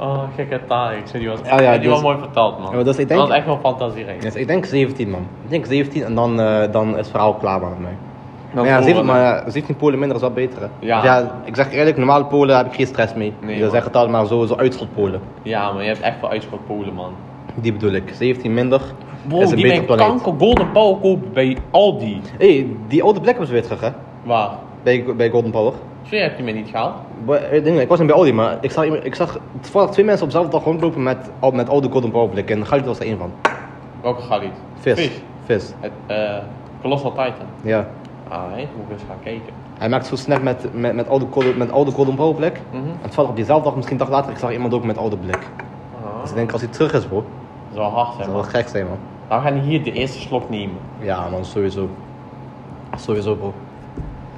Oh, gekke Tarek, ik vind die was, Ja, ja, ik vind die dus- wel mooi verteld man. Ja, maar dat is- ik denk- was echt wel fantasierijk. Dus ik denk 17 man. Ik denk 17 en dan, eh, dan is het verhaal klaar man met mij. Dan Maar ja, voelen we 17, het. maar ja, 17 Polen minder is wel beter. hè. Ja. Dus ik zeg eerlijk, normale Polen heb ik geen stress mee. Nee, Je man. zegt het al, maar zo, zo uitschot Polen. Ja, maar je hebt echt veel uitschot polen man. Die bedoel ik. 17 minder Bro, is een die betere mijn planeet. kanker Golden Power kopen bij Aldi. hey, die oude Black Ops weer terug hè? Waar? Bij, bij Golden Power. Zo heb je mij niet gehaald? Bo- Ik, denk, ik was niet bij Audi, maar ik zag, iemand- ik zag toevallig twee mensen op dezelfde dag rondlopen met, al- met oude Golden Power blikken. En Galit was er één van. Welke galiet? Vis. Vis. Het, eh, Colossal Titan. Ja. Ah, hè? moet ik eens gaan kijken. Hij maakt zo snap met, met, met, oude, Golden, met oude Golden Power blik. Mhm. En toevallig op diezelfde dag, misschien een dag later, ik zag iemand ook met oude blik. Ah, Dus ik denk, als hij terug is bro, dat is wel hard, dat hè, zou wel man. gek zijn man. Nou, we gaan hier de eerste slok nemen. Ja man, sowieso. Sowieso bro.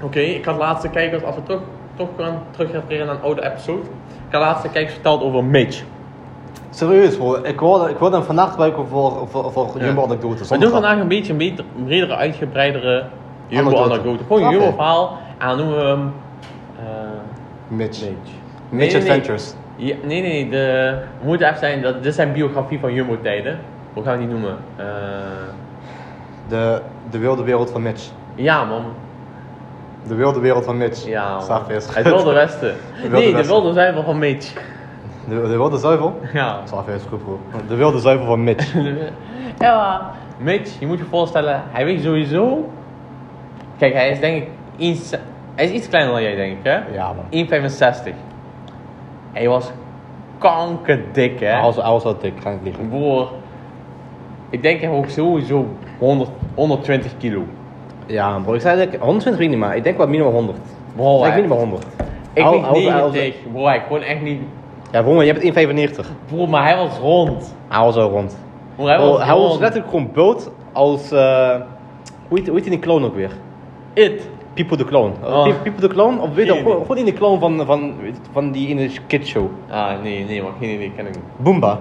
Oké, ik had laatste kijkers, als we toch, toch gaan terugrefereren naar een oude episode. Ik had laatste kijkers verteld over Mitch. Serieus bro, ik wilde, ik wilde hem vandaag gebruiken voor, voor, voor Jumbo anekdotes. We doen vandaag een beetje een beter, bredere, uitgebreidere Jumbo-anekdote. Anekdote. Gewoon een Oké. Jumbo-verhaal. En dan noemen we hem... eh, Mitch. Mitch, Nee, nee, nee. Adventures. Ja, nee, nee, de, we moeten even zijn, dat, dit is zijn biografie van Jumbo-tijden. Hoe gaan we die noemen? Eh, De, de wilde wereld van Mitch. ja, man. De wilde wereld van Mitch. Ja, man. Staat vast. Het Wilde Westen. Wilde nee, de Westen. Wilde Zuivel van Mitch. De, de wilde zuivel? Ja. Slaaf is goed bro. De wilde zuivel van Mitch. Ja. maar Mitch, je moet je voorstellen, hij weegt sowieso. Kijk, hij is denk ik iets. Hij is iets kleiner dan jij, denk ik, hè? Ja, man. 1,65. Hij was kankerdik, hè? Hij was, hij was wel dik, ga ik niet liegen. Broer, ik denk hij woog sowieso 100, 120 kilo. Ja, bro, ik zei eigenlijk 120 weet ik niet, maar ik denk wel minimaal 100. Bro, ik denk hij- minimaal 100. ik Hij- weeg hij was- hij was- 90. Bro, hij kon echt niet... Ja, broer, je hebt 1,95. Bro, maar hij was rond. Hij was al rond. Bro, hij Bro, was hij was rond. letterlijk gewoon bult als... eh, hoe, heet, hoe heet die clone ook weer? It. People the Clone. Eh, Oh. Pe- People the Clone? Of weet je, Geen gewoon idee. gewoon in de clone van, van, van die in de kidshow. Ah, nee, nee, maar geen idee, ken ik niet. Boomba.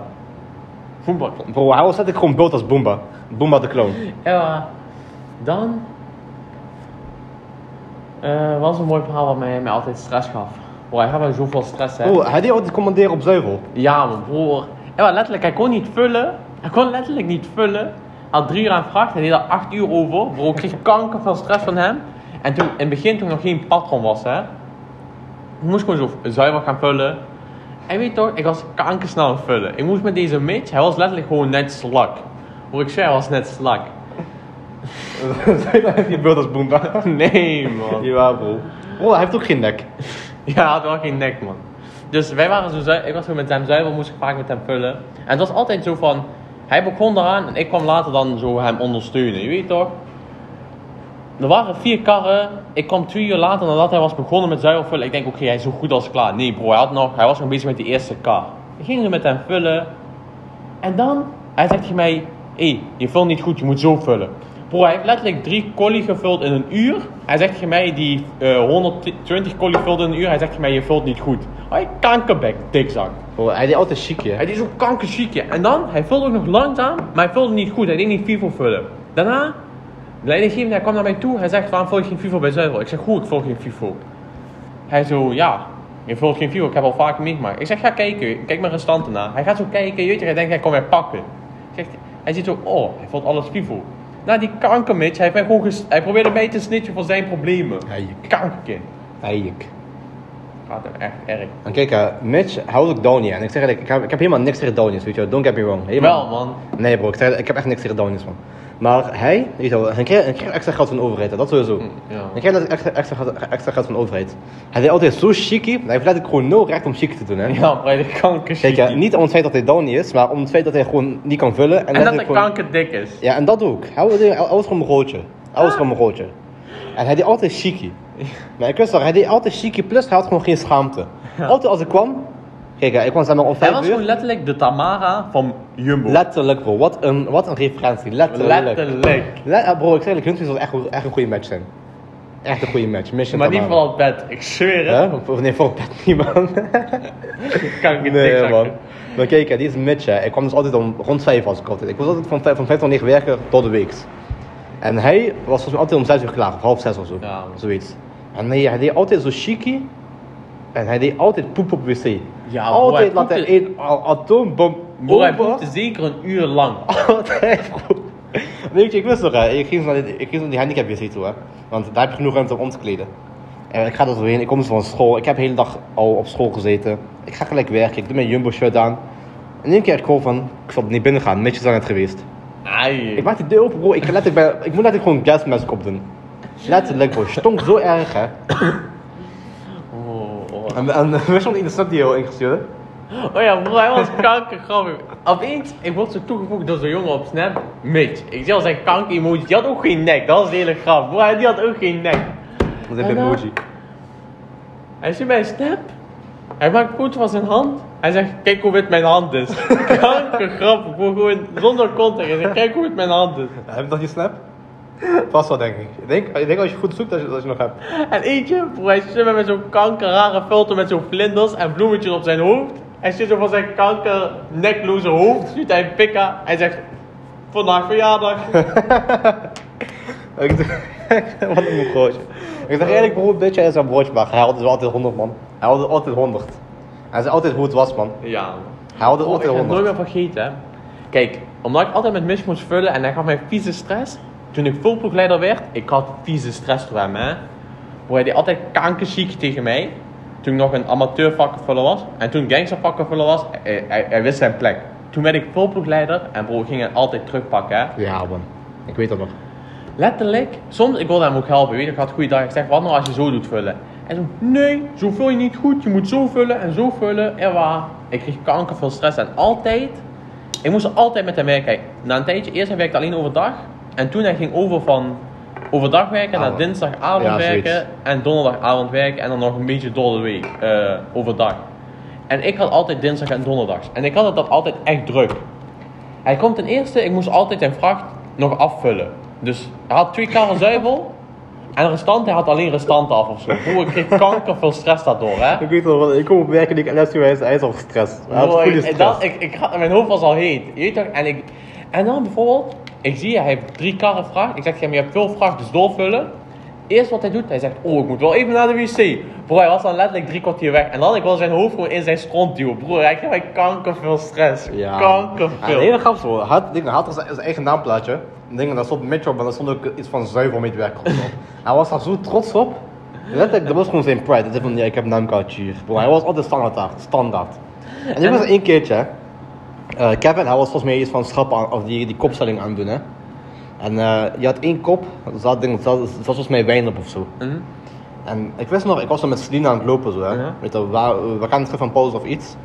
Voetbal. Bro, hij was letterlijk gewoon bult als Boomba. Boomba de Clone. Ja, dan... eh was een mooi verhaal wat mij, mij altijd stress gaf. Bro, hij gaf mij zoveel stress, hè. Bro, hij deed altijd commanderen op zuivel. Ja, mijn broer. Ja, maar letterlijk, hij kon niet vullen. Hij kon letterlijk niet vullen. Hij had drie uur aan vracht, hij deed er acht uur over. Bro, ik kreeg kanker van stress van hem. En toen, in het begin, toen ik nog geen patron was, hè. Ik moest gewoon zo zuiver gaan vullen. En weet je toch, ik was kankersnel aan het vullen. Ik moest met deze Mitch, hij was letterlijk gewoon net slak. Hoe ik zei, hij was net slak. die bult als Boomba. Oh, Nee, man. Jawel, bro. Bro, hij heeft ook geen nek. Ja, hij had wel geen nek, man. Dus wij waren zo zuiver, ik was zo met hem zuiver, moest ik vaak met hem vullen. En het was altijd zo van, hij begon eraan en ik kwam later dan zo hem ondersteunen, je weet toch? Er waren vier karren, ik kwam twee uur later nadat hij was begonnen met zuiver vullen. Ik denk, oké, hij is zo goed als klaar. Nee bro, hij, had nog, hij was nog bezig met die eerste kar. Ik ging zo met hem vullen. En dan, hij zegt tegen mij, hé, je vult niet goed, je moet zo vullen. Bro, hij heeft letterlijk drie collie gevuld in een uur. Hij zegt tegen mij, die eh, 120 collie vulde in een uur, hij zegt tegen mij, je vult niet goed. Hij kankerbek, dikzak. Bro, hij deed altijd chique. Hij is zo kankerziekje. En dan, hij vulde ook nog langzaam, maar hij vulde niet goed. Hij deed niet FIFO vullen. Daarna, de leidinggevende, hij kwam naar mij toe. Hij zegt, waarom vul je geen FIFO bij Zuivel? Ik zeg, hoe, ik vul geen FIFO. Hij zo, ja, je vult geen FIFO. Ik heb al vaak meegemaakt. Ik zeg, ga kijken. Kijk mijn restanten na. Hij gaat zo kijken. Jeetje, hij denkt, hij kan mij pakken. Zegt, hij ziet zo, oh, hij vult alles FIFO. Na die kankermitch, hij, heeft mij gewoon ges- hij probeerde mij te snitchen voor zijn problemen. Eik. Kankerkind. Eik. Gaat hem echt erg. En kijk, eh, Mitch houdt ook Donia. En ik zeg eigenlijk, ik heb, ik heb helemaal niks tegen Donia's, weet je wel. Don't get me wrong. Helemaal. Wel, man. Nee bro, ik, zeg, ik heb echt niks tegen Donia's, man. Maar hij, weet je wel, hij kreeg, hij kreeg extra geld van de overheid, hè, dat sowieso. Hm, Ja. Ik heb dat extra, extra, geld- extra geld van de overheid. Hij deed altijd zo chique, maar hij heeft letterlijk gewoon nul recht om chique te doen. Hè? Ja, brede kankerziekje. Kijk, hè, niet om het feit dat hij down is, maar om het feit dat hij gewoon niet kan vullen. En, En dat letterlijk hij gewoon- kankerdik is. Ja, en dat ook. Hij was, hij was gewoon een roodje. Hij Ah. was gewoon een roodje. En hij deed altijd chique. Maar ik wist wel, hij deed altijd chique, plus hij had gewoon geen schaamte. Altijd als ik kwam, kijk, hè, ik kwam zeg maar om Hij 5 was uur. gewoon letterlijk de Tamara van Jumbo. Letterlijk bro, wat een, wat een referentie, letterlijk. Letterlijk. Le- eh, bro, ik zeg eigenlijk, hun zal echt, echt een goede match zijn. Echt een goede match, Mission Maar niet Tamara. van het bed, ik zweer het. Hè? Of- of Nee, voor pet niet man. Kankerdik. Nee, zeg. man. Maar kijk, hè, die is Mitch. hè. Ik kwam dus altijd om rond 5 was ik altijd. Ik was altijd van 5, van 5 tot 9 werken tot de week. En hij was volgens mij altijd om 6 uur klaar, of half 6 of zo. Ja, man. Zoiets. En hij, hij deed altijd zo chique. En hij deed altijd poep op wc. Ja, broer, altijd hij laat hij poepte- een a- atoombom Broer, hij over. poepte zeker een uur lang. Altijd, bro. Weet je, ik wist nog, hè. ik ging zo naar die, ik ging zo naar die handicap wc toe, hè. Want daar heb je genoeg ruimte om om te kleden. En ik ga er zo heen, ik kom zo van school, ik heb de hele dag al op school gezeten. Ik ga gelijk werken, ik doe mijn jumbo-shirt aan. En één keer ik hoor van, ik zal niet binnen gaan, netjes aan het geweest. Ik Ai. maak die deur open, bro, ik, ga letterlijk bij, ik moet letterlijk gewoon gasmask op doen. Letterlijk, bro, stonk zo erg, hè. Oh, oh. En, en wist je wat in de snap die je ingestuurd Oh ja, broer, hij was kankergrappig. Opeens, ik word zo toegevoegd door zo'n jongen op Snap. Mitch. Ik zie al zijn kanker-emoji. Die had ook geen nek, dat was de hele grap. Broer, die had ook geen nek. Dat is een Hallo? emoji. Hij zit bij een snap. Hij maakt foto van zijn hand. Hij zegt, kijk hoe wit mijn hand is. Kanker grappig, gewoon, gewoon zonder context. Hij zegt, kijk hoe wit mijn hand is. Heb je nog je snap? Vast wel, denk ik. Ik denk, ik denk als je goed zoekt, dat je, dat je nog hebt. En eentje, broer, hij zit met zo'n kankerrare filter met zo'n vlinders en bloemetjes op zijn hoofd. Hij zit zo van zijn kanker nekloze hoofd, stuurt hij een pikka. Hij zegt, vandaag verjaardag. Ik dacht- Wat een broodje. Ik dacht eigenlijk, broer, bitch, hij is een broodje, maar hij had dus altijd 100, man. Hij had altijd 100. Hij zei altijd hoe het was, man. Ja, man. Hij had Oh, ik altijd heb het nooit 100. meer vergeten. hè. Kijk, omdat ik altijd met Mitch moest vullen en hij gaf mij vieze stress. Toen ik volploegleider werd, ik had vieze stress door hem, hè. Bro, hij deed altijd kankerziek tegen mij. Toen ik nog een amateur vakkenvuller was. En toen ik gangstervakkenvuller was, hij, hij, hij wist zijn plek. Toen werd ik volploegleider en bro, we gingen altijd terugpakken. Hè. Ja, man. Ik weet dat nog. Letterlijk, soms, ik wilde hem ook helpen, weet je, ik had een goede dag. Ik zeg, wat nou als je zo doet vullen? En zo, nee, zo vul je niet goed, je moet zo vullen en zo vullen. En waar? Ik kreeg kanker, veel stress en altijd, ik moest altijd met hem werken. Na een tijdje, eerst hij werkte alleen overdag. En toen hij ging over van overdag werken naar Avond. dinsdagavond Ja, zoiets. werken en donderdagavond werken. En dan nog een beetje door de week, eh, overdag. En ik had altijd dinsdag en donderdags. En ik had het dat altijd echt druk. Hij komt ten eerste, ik moest altijd zijn vracht nog afvullen. Dus hij had twee karren zuivel en restant, hij had alleen restant af of zo. Broer, ik kreeg kanker veel stress daardoor, hè. Ik weet dat, ik kom op werk en ik les hij is, hij is al gestrest. Hij had Broer, goede ik, dat, stress. ik, ik had, mijn hoofd was al heet. Je weet toch? En, ik, en dan bijvoorbeeld, ik zie hij heeft drie karren vracht. Ik zeg tegen hem, je hebt veel vracht, dus doorvullen. Eerst wat hij doet, hij zegt, oh, ik moet wel even naar de wc. Broer, hij was dan letterlijk drie kwartier weg. En dan, ik wil zijn hoofd gewoon in zijn stront duwen. Broer, hij kreeg mij kanker veel stress. Kanker Ja, veel. een hele grappig hoor. Hij had, hij had zijn eigen naamplaatje. En dingen, daar stond Mitchell, maar daar stond ook iets van zuivelmeetwerk op. hij was daar zo trots op. Letterlijk, dat was gewoon zijn pride. Dat is van, ja, ik heb een naamkaartje hier. Bro, hij was altijd standaard daar, standaard. En dit was één keertje, hè. Eh, Kevin, hij was volgens mij iets van schrappen aan, of die, die kopstelling aan het doen, hè. En eh, je had één kop, er zat, ding- er zat, er zat volgens mij wijn op of zo. Mhm. En ik wist nog, ik was er met Selina aan het lopen zo, hè. Ja. Weet je, waar, we gaan terug van pauze of iets.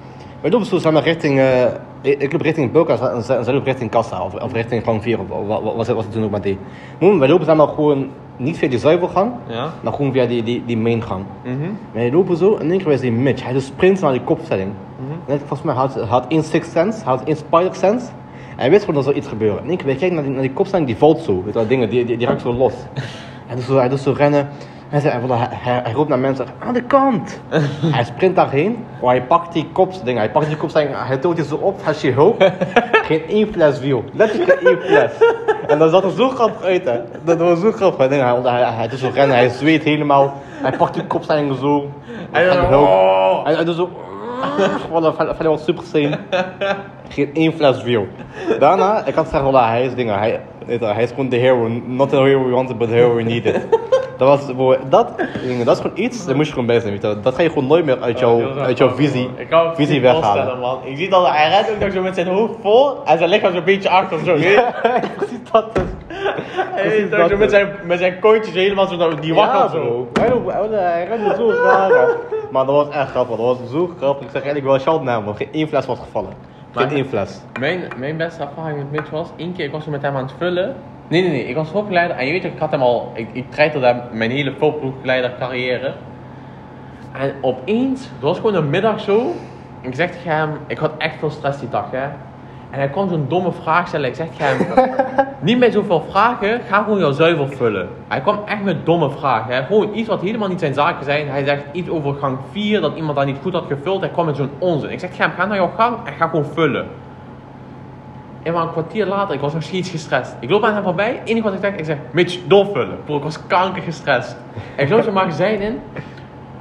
Wij lopen zo samen richting, eh, ik ik loop richting Bulka en zij en zij loopt richting Kassa of, of richting gang 4 of wat was het, was het toen ook met die. Noem, wij lopen samen gewoon niet via die zuivelgang, Ja. maar gewoon via die, die, die maingang. Mhm. Wij lopen zo en in één keer was die Mitch, hij dus sprint naar die kopstelling. Mhm. Net, volgens mij had hij had één Sixth Sense, hij had één Spider Sense. En hij wist gewoon dat er iets gebeurde. En ik wij kijken naar die, naar die kopstelling, die valt zo. Weet je wel, dingen, die, die, die raakt zo los. En dus zo, hij doet zo rennen. Hij, zei, hij, wil- hij, hij- hij roept naar mensen, aan de kant! hij sprint daarheen, maar hij pakt die kopstelling, hij pakt die kopstelling, hij tilt die zo op, hij je hoop. geen één fles wiel, letterlijk geen één fles. En dat zat er zo grappig uit, hè. Dat was zo grappig. Hij, denkt, hij, hij, hij doet zo rennen, hij zweet helemaal. Hij pakt die kopstelling zo. Hij gaat dan, hulp. oh. Hij, hij doet zo... "Oh." Voilà, verder verder was super sane. Geen één fles wiel. Daarna, ik had zeggen, voilà, hij is dingen. Hij, weet je, hij is gewoon de hero. Not the hero we wanted, but the hero we needed. Dat was, wow, dat, dingen, dat is gewoon iets, daar moest je gewoon bij zijn. weet je wel. Dat ga je gewoon nooit meer uit jouw, uit jouw visie, Ik kan het visie niet voorstellen, weghalen. man. Ik zie dat hij rent ook nog zo met zijn hoofd vol en zijn lichaam zo'n beetje achter zo. weet je? Precies dat dus. is. Precies Hij is ook zo dat. eh. met zijn, met zijn koontjes helemaal zo, naar- die wakker Ja, zo. bro. Hij, loopt- hij- hij rende zo raar. hè. maar dat was echt grappig. Dat was zo grappig. Ik zeg eigenlijk wel shout naar hem. Geen één fles was gevallen. Geen Maar- één fles. Mijn, mijn beste ervaring met Mitch was, één keer ik was er met hem aan het vullen. Nee, nee, nee, ik was voorbegeleider en je weet toch, ik had hem al, ik, ik treiterde hem mijn hele voorbegeleider carrière. En opeens, het was gewoon een middag zo, ik zeg tegen hem, ik had echt veel stress die dag hè. En hij kwam zo'n domme vraag stellen, ik zeg tegen hem, niet met zoveel vragen, ga gewoon jouw zuivel vullen. Hij kwam echt met domme vragen hè, gewoon iets wat helemaal niet zijn zaken zijn. Hij zegt iets over gang 4, dat iemand daar niet goed had gevuld, hij kwam met zo'n onzin. Ik zeg tegen hem, ga naar jouw gang en ga gewoon vullen. En maar een kwartier later, ik was nog steeds gestrest. Ik loop aan hem voorbij, het enige wat ik denk, ik zeg, Mitch, doorvullen. Bro, ik was kanker gestrest. En ik loop zo'n magazijn in,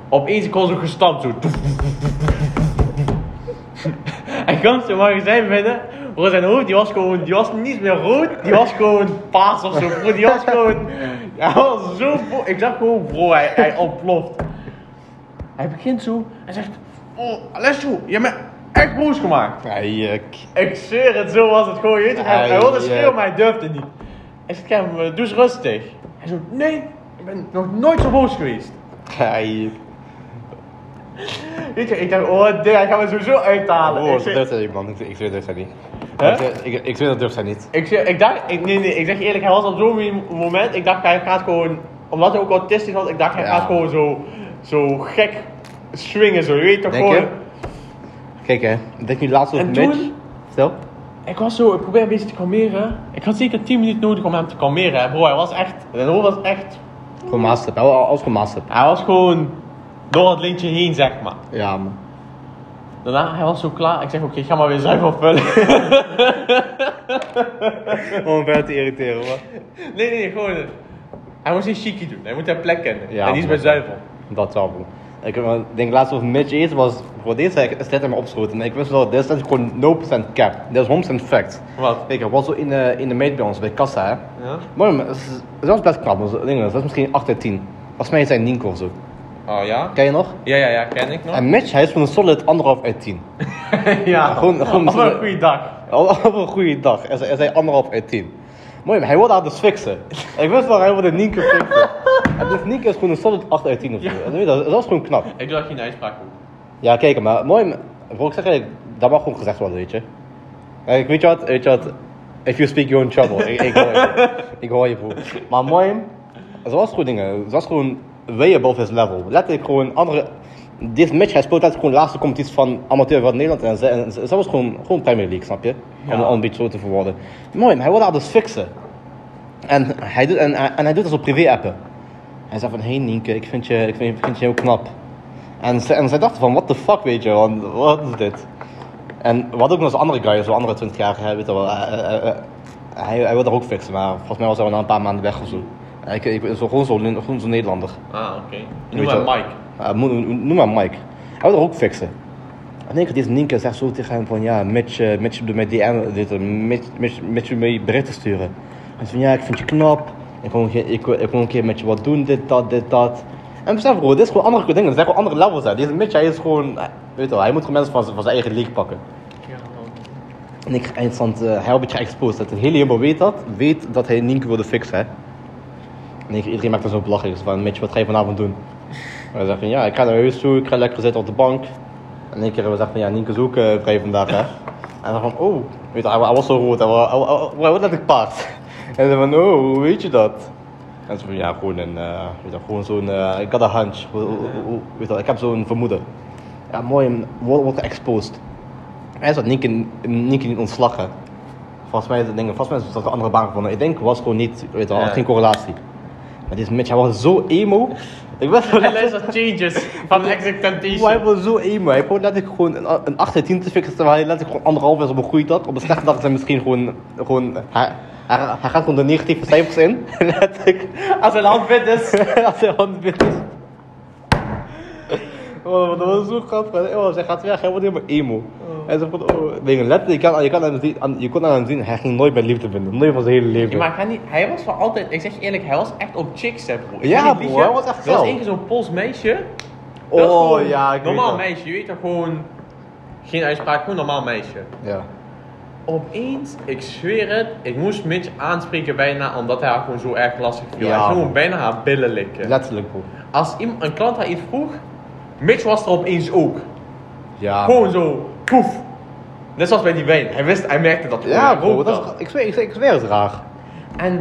opeens ik hoor zo'n gestampt zo. Hij komt zo'n magazijn binnen, bro, zijn hoofd die was gewoon, die was niet meer rood, die was gewoon paas of zo, bro, die was gewoon, hij was zo, bo- ik dacht gewoon, bro, hij, hij ontploft. Hij begint zo, hij zegt, oh, Alessio, je hebt me echt boos gemaakt. Eik. Ik zweer het, zo was het gewoon. Je weet toch, hij, hij wilde schreeuwen, maar hij durfde niet. Ik zeg tegen hem, eh, doe eens rustig. Hij zo, nee, ik ben nog nooit zo boos geweest. Eik. Weet je, ik dacht, oh dit, hij gaat me sowieso uithalen. Oh, ik, dat zeg- durft hij niet, man. Ik- Ik zweer dat durft hij niet. Hè? Ik zweer- Ik ik zweer dat durft hij niet. ik, zeg- ik dacht, ik, nee, nee, ik zeg eerlijk, hij was op zo'n moment, ik dacht, hij gaat gewoon, omdat hij ook autistisch was, ik dacht, hij Ja. gaat gewoon zo, zo gek swingen, zo, je weet toch Denk gewoon. je? Kijk hè, denk nu laatst over En Mitch. toen? Stel. Ik was zo, ik probeer een beetje te kalmeren. Ik had zeker 10 minuten nodig om hem te kalmeren, hè, bro. Hij was echt, zijn hoofd was echt Gewoon master. Hij was gewoon master. Hij was gewoon door het lintje heen, zeg maar. Ja, man. Daarna, hij was zo klaar. Ik zeg, oké, ga maar weer zuiver vullen. Om ver te irriteren, man. nee, nee, gewoon... eh, Hij moest niet chiqui doen. Hij moet haar plek kennen. Ja, en die is bij man. zuivel. Dat wel, bro. Ik eh, denk laatst over Mitch eens was, voor deze heb ik een slet in me opgeschoten. En ik wist wel, dit is gewoon 0% cap. Dat is 100% fact. Wat? Kijk, er was zo in de, in de meet bij ons, bij Kassa, hè. eh, Ja? Maar dat was best knap, dat was, dat was misschien 8 uit 10. Volgens mij zijn Nienke of zo. Oh ja? Ken je nog? Ja, ja, ja, ken ik nog. En Mitch, hij is van een solid anderhalf uit tien. ja, gewoon- gewoon- Op een goede dag. Op een goede dag. Hij zei- hij zei anderhalf uit tien. Mooi, maar hij wilde haar dus fixen. Ik wist wel, hij wilde Nienke fixen. En dus Nienke is gewoon een solid 8 uit 10 of zo. En weet je, Dat, dat is gewoon knap. Ik dacht je een uitspraak ook. Ja, kijk, maar mooi. maar- Bro, ik zeg eigenlijk, dat mag gewoon gezegd worden, weet je. Kijk, weet je wat, weet je wat. If you speak, you're in trouble. ik, ik hoor je, ik hoor je, broer. Maar mooi, ze was gewoon dingen. Ze was gewoon way above his level. Letterlijk gewoon andere... Dit match, hij speelt altijd gewoon de laatste competitie van amateur van Nederland. En ze, en ze- ze was gewoon, gewoon Premier League, snap je? Om Ja. om een beetje zo te verwoorden. Mooi, maar hij wilde haar dus fixen. En hij doet, en, en hij doet dat op privé-appen. Hij zei van, hé hey Nienke, ik vind, je, ik, vind, ik vind je heel knap. En, ze, en zij dachten van, what the fuck, weet je, want wat is dit? En wat ook nog zo'n andere guy, zo'n andere 20 jaar, weet je wel, eh, eh, eh, hij, hij wil daar ook fixen, maar volgens mij was hij al na een paar maanden weg of zo. En Ik, ik, zo, gewoon zo'n gewoon zo'n Nederlander. Ah, oké. Je Weet Noem maar je wel. Mike. Eh, mo- noem maar Mike. Hij wil daar ook fixen. En ik deze Nienke zegt zo tegen hem van, ja, Mitch, eh, Mitch doet mij DM, dit, eh, Mitch, Mitch, Mitch doet mij berichten sturen. En ze van, ja, ik vind je knap, ik wil, een keer- ik, wil- ik wil een keer met je wat doen, dit, dat, dit, dat. En besef bro, dit is gewoon andere dingen, dit zijn gewoon andere levels. Hè. Deze Mitch, hij is gewoon, eh, weet je wel, hij moet gewoon mensen van, zijn- van zijn eigen league pakken. En ik eindstand, eh, hij al een beetje exposed. Dat de hele helemaal weet dat. Weet dat hij Nienke wilde fixen. Hè? En ik, iedereen maakt er zo belachelijk van, Mitch, wat ga je vanavond doen? En hij zegt van, ja, ik ga naar huis toe, ik ga lekker zitten op de bank. En één keer hebben we gezegd van, ja, Nienke is ook eh, vrij vandaag, hè. En dan van, oh, weet je, hij, wa- hij was zo rood, hij, wa- hij, wa- hij wordt net een paard. En dan van, oh, hoe weet je dat? En ze van, ja, gewoon een, eh, weet je, gewoon zo'n, eh, ik had een hunch, Hoe- hoe- hoe- weet je, ik heb zo'n vermoeden. Ja, mooi, wordt wordt geëxposed. Hij zat Nienke, Nienke niet ontslagen. Volgens mij, dingen, volgens mij is dat een andere baan gevonden. Ik denk, was gewoon niet, weet je, wel, Ja. geen correlatie. Maar dit match, hij was zo emo. Ik weet wel Hij luistert changes van Exit Oeh, hij Temptation. was zo emo. Hij probeerde letterlijk gewoon een, een 8 uit 10 te fixen, terwijl hij letterlijk gewoon anderhalf is op een goede dag. Op een slechte dag zijn misschien gewoon... gewoon hij, hij, hij gaat gewoon de negatieve cijfers in. letterlijk. Als een hand fit is. Als hij aan het is. Oh, maar dat was zo grappig. Hij- Oh, zij gaat weg, hij wordt helemaal emo. Hij zegt van, oh... Weet je, letterlijk, je, kan, je, kan aan hem zien, aan- je kon aan hem zien, hij ging nooit met liefde vinden. Nooit van zijn hele leven. Ja, maar hij, niet, hij was wel altijd, ik zeg je eerlijk, hij was echt op chicks, hè, bro. Ik Ja, ga niet liegen. bro, hij was echt Er was geil. één keer zo'n Pools meisje. oh, Dat was gewoon ja, ik weet Normaal dat. meisje, je weet toch gewoon. Geen uitspraak, gewoon normaal meisje. Ja. Opeens, ik zweer het, ik moest Mitch aanspreken bijna omdat hij haar gewoon zo erg lastig Ja, viel. Hij ging man. gewoon bijna haar billen likken. Letterlijk, bro. Als iemand, een klant haar iets vroeg, Mitch was er opeens ook. Ja. Gewoon zo, poef. Net zoals bij die wijn. Hij wist, hij merkte dat. Ja, Hij bro. rook Dat is, ik, zweer, ik, zweer, ik zweer het is raar. En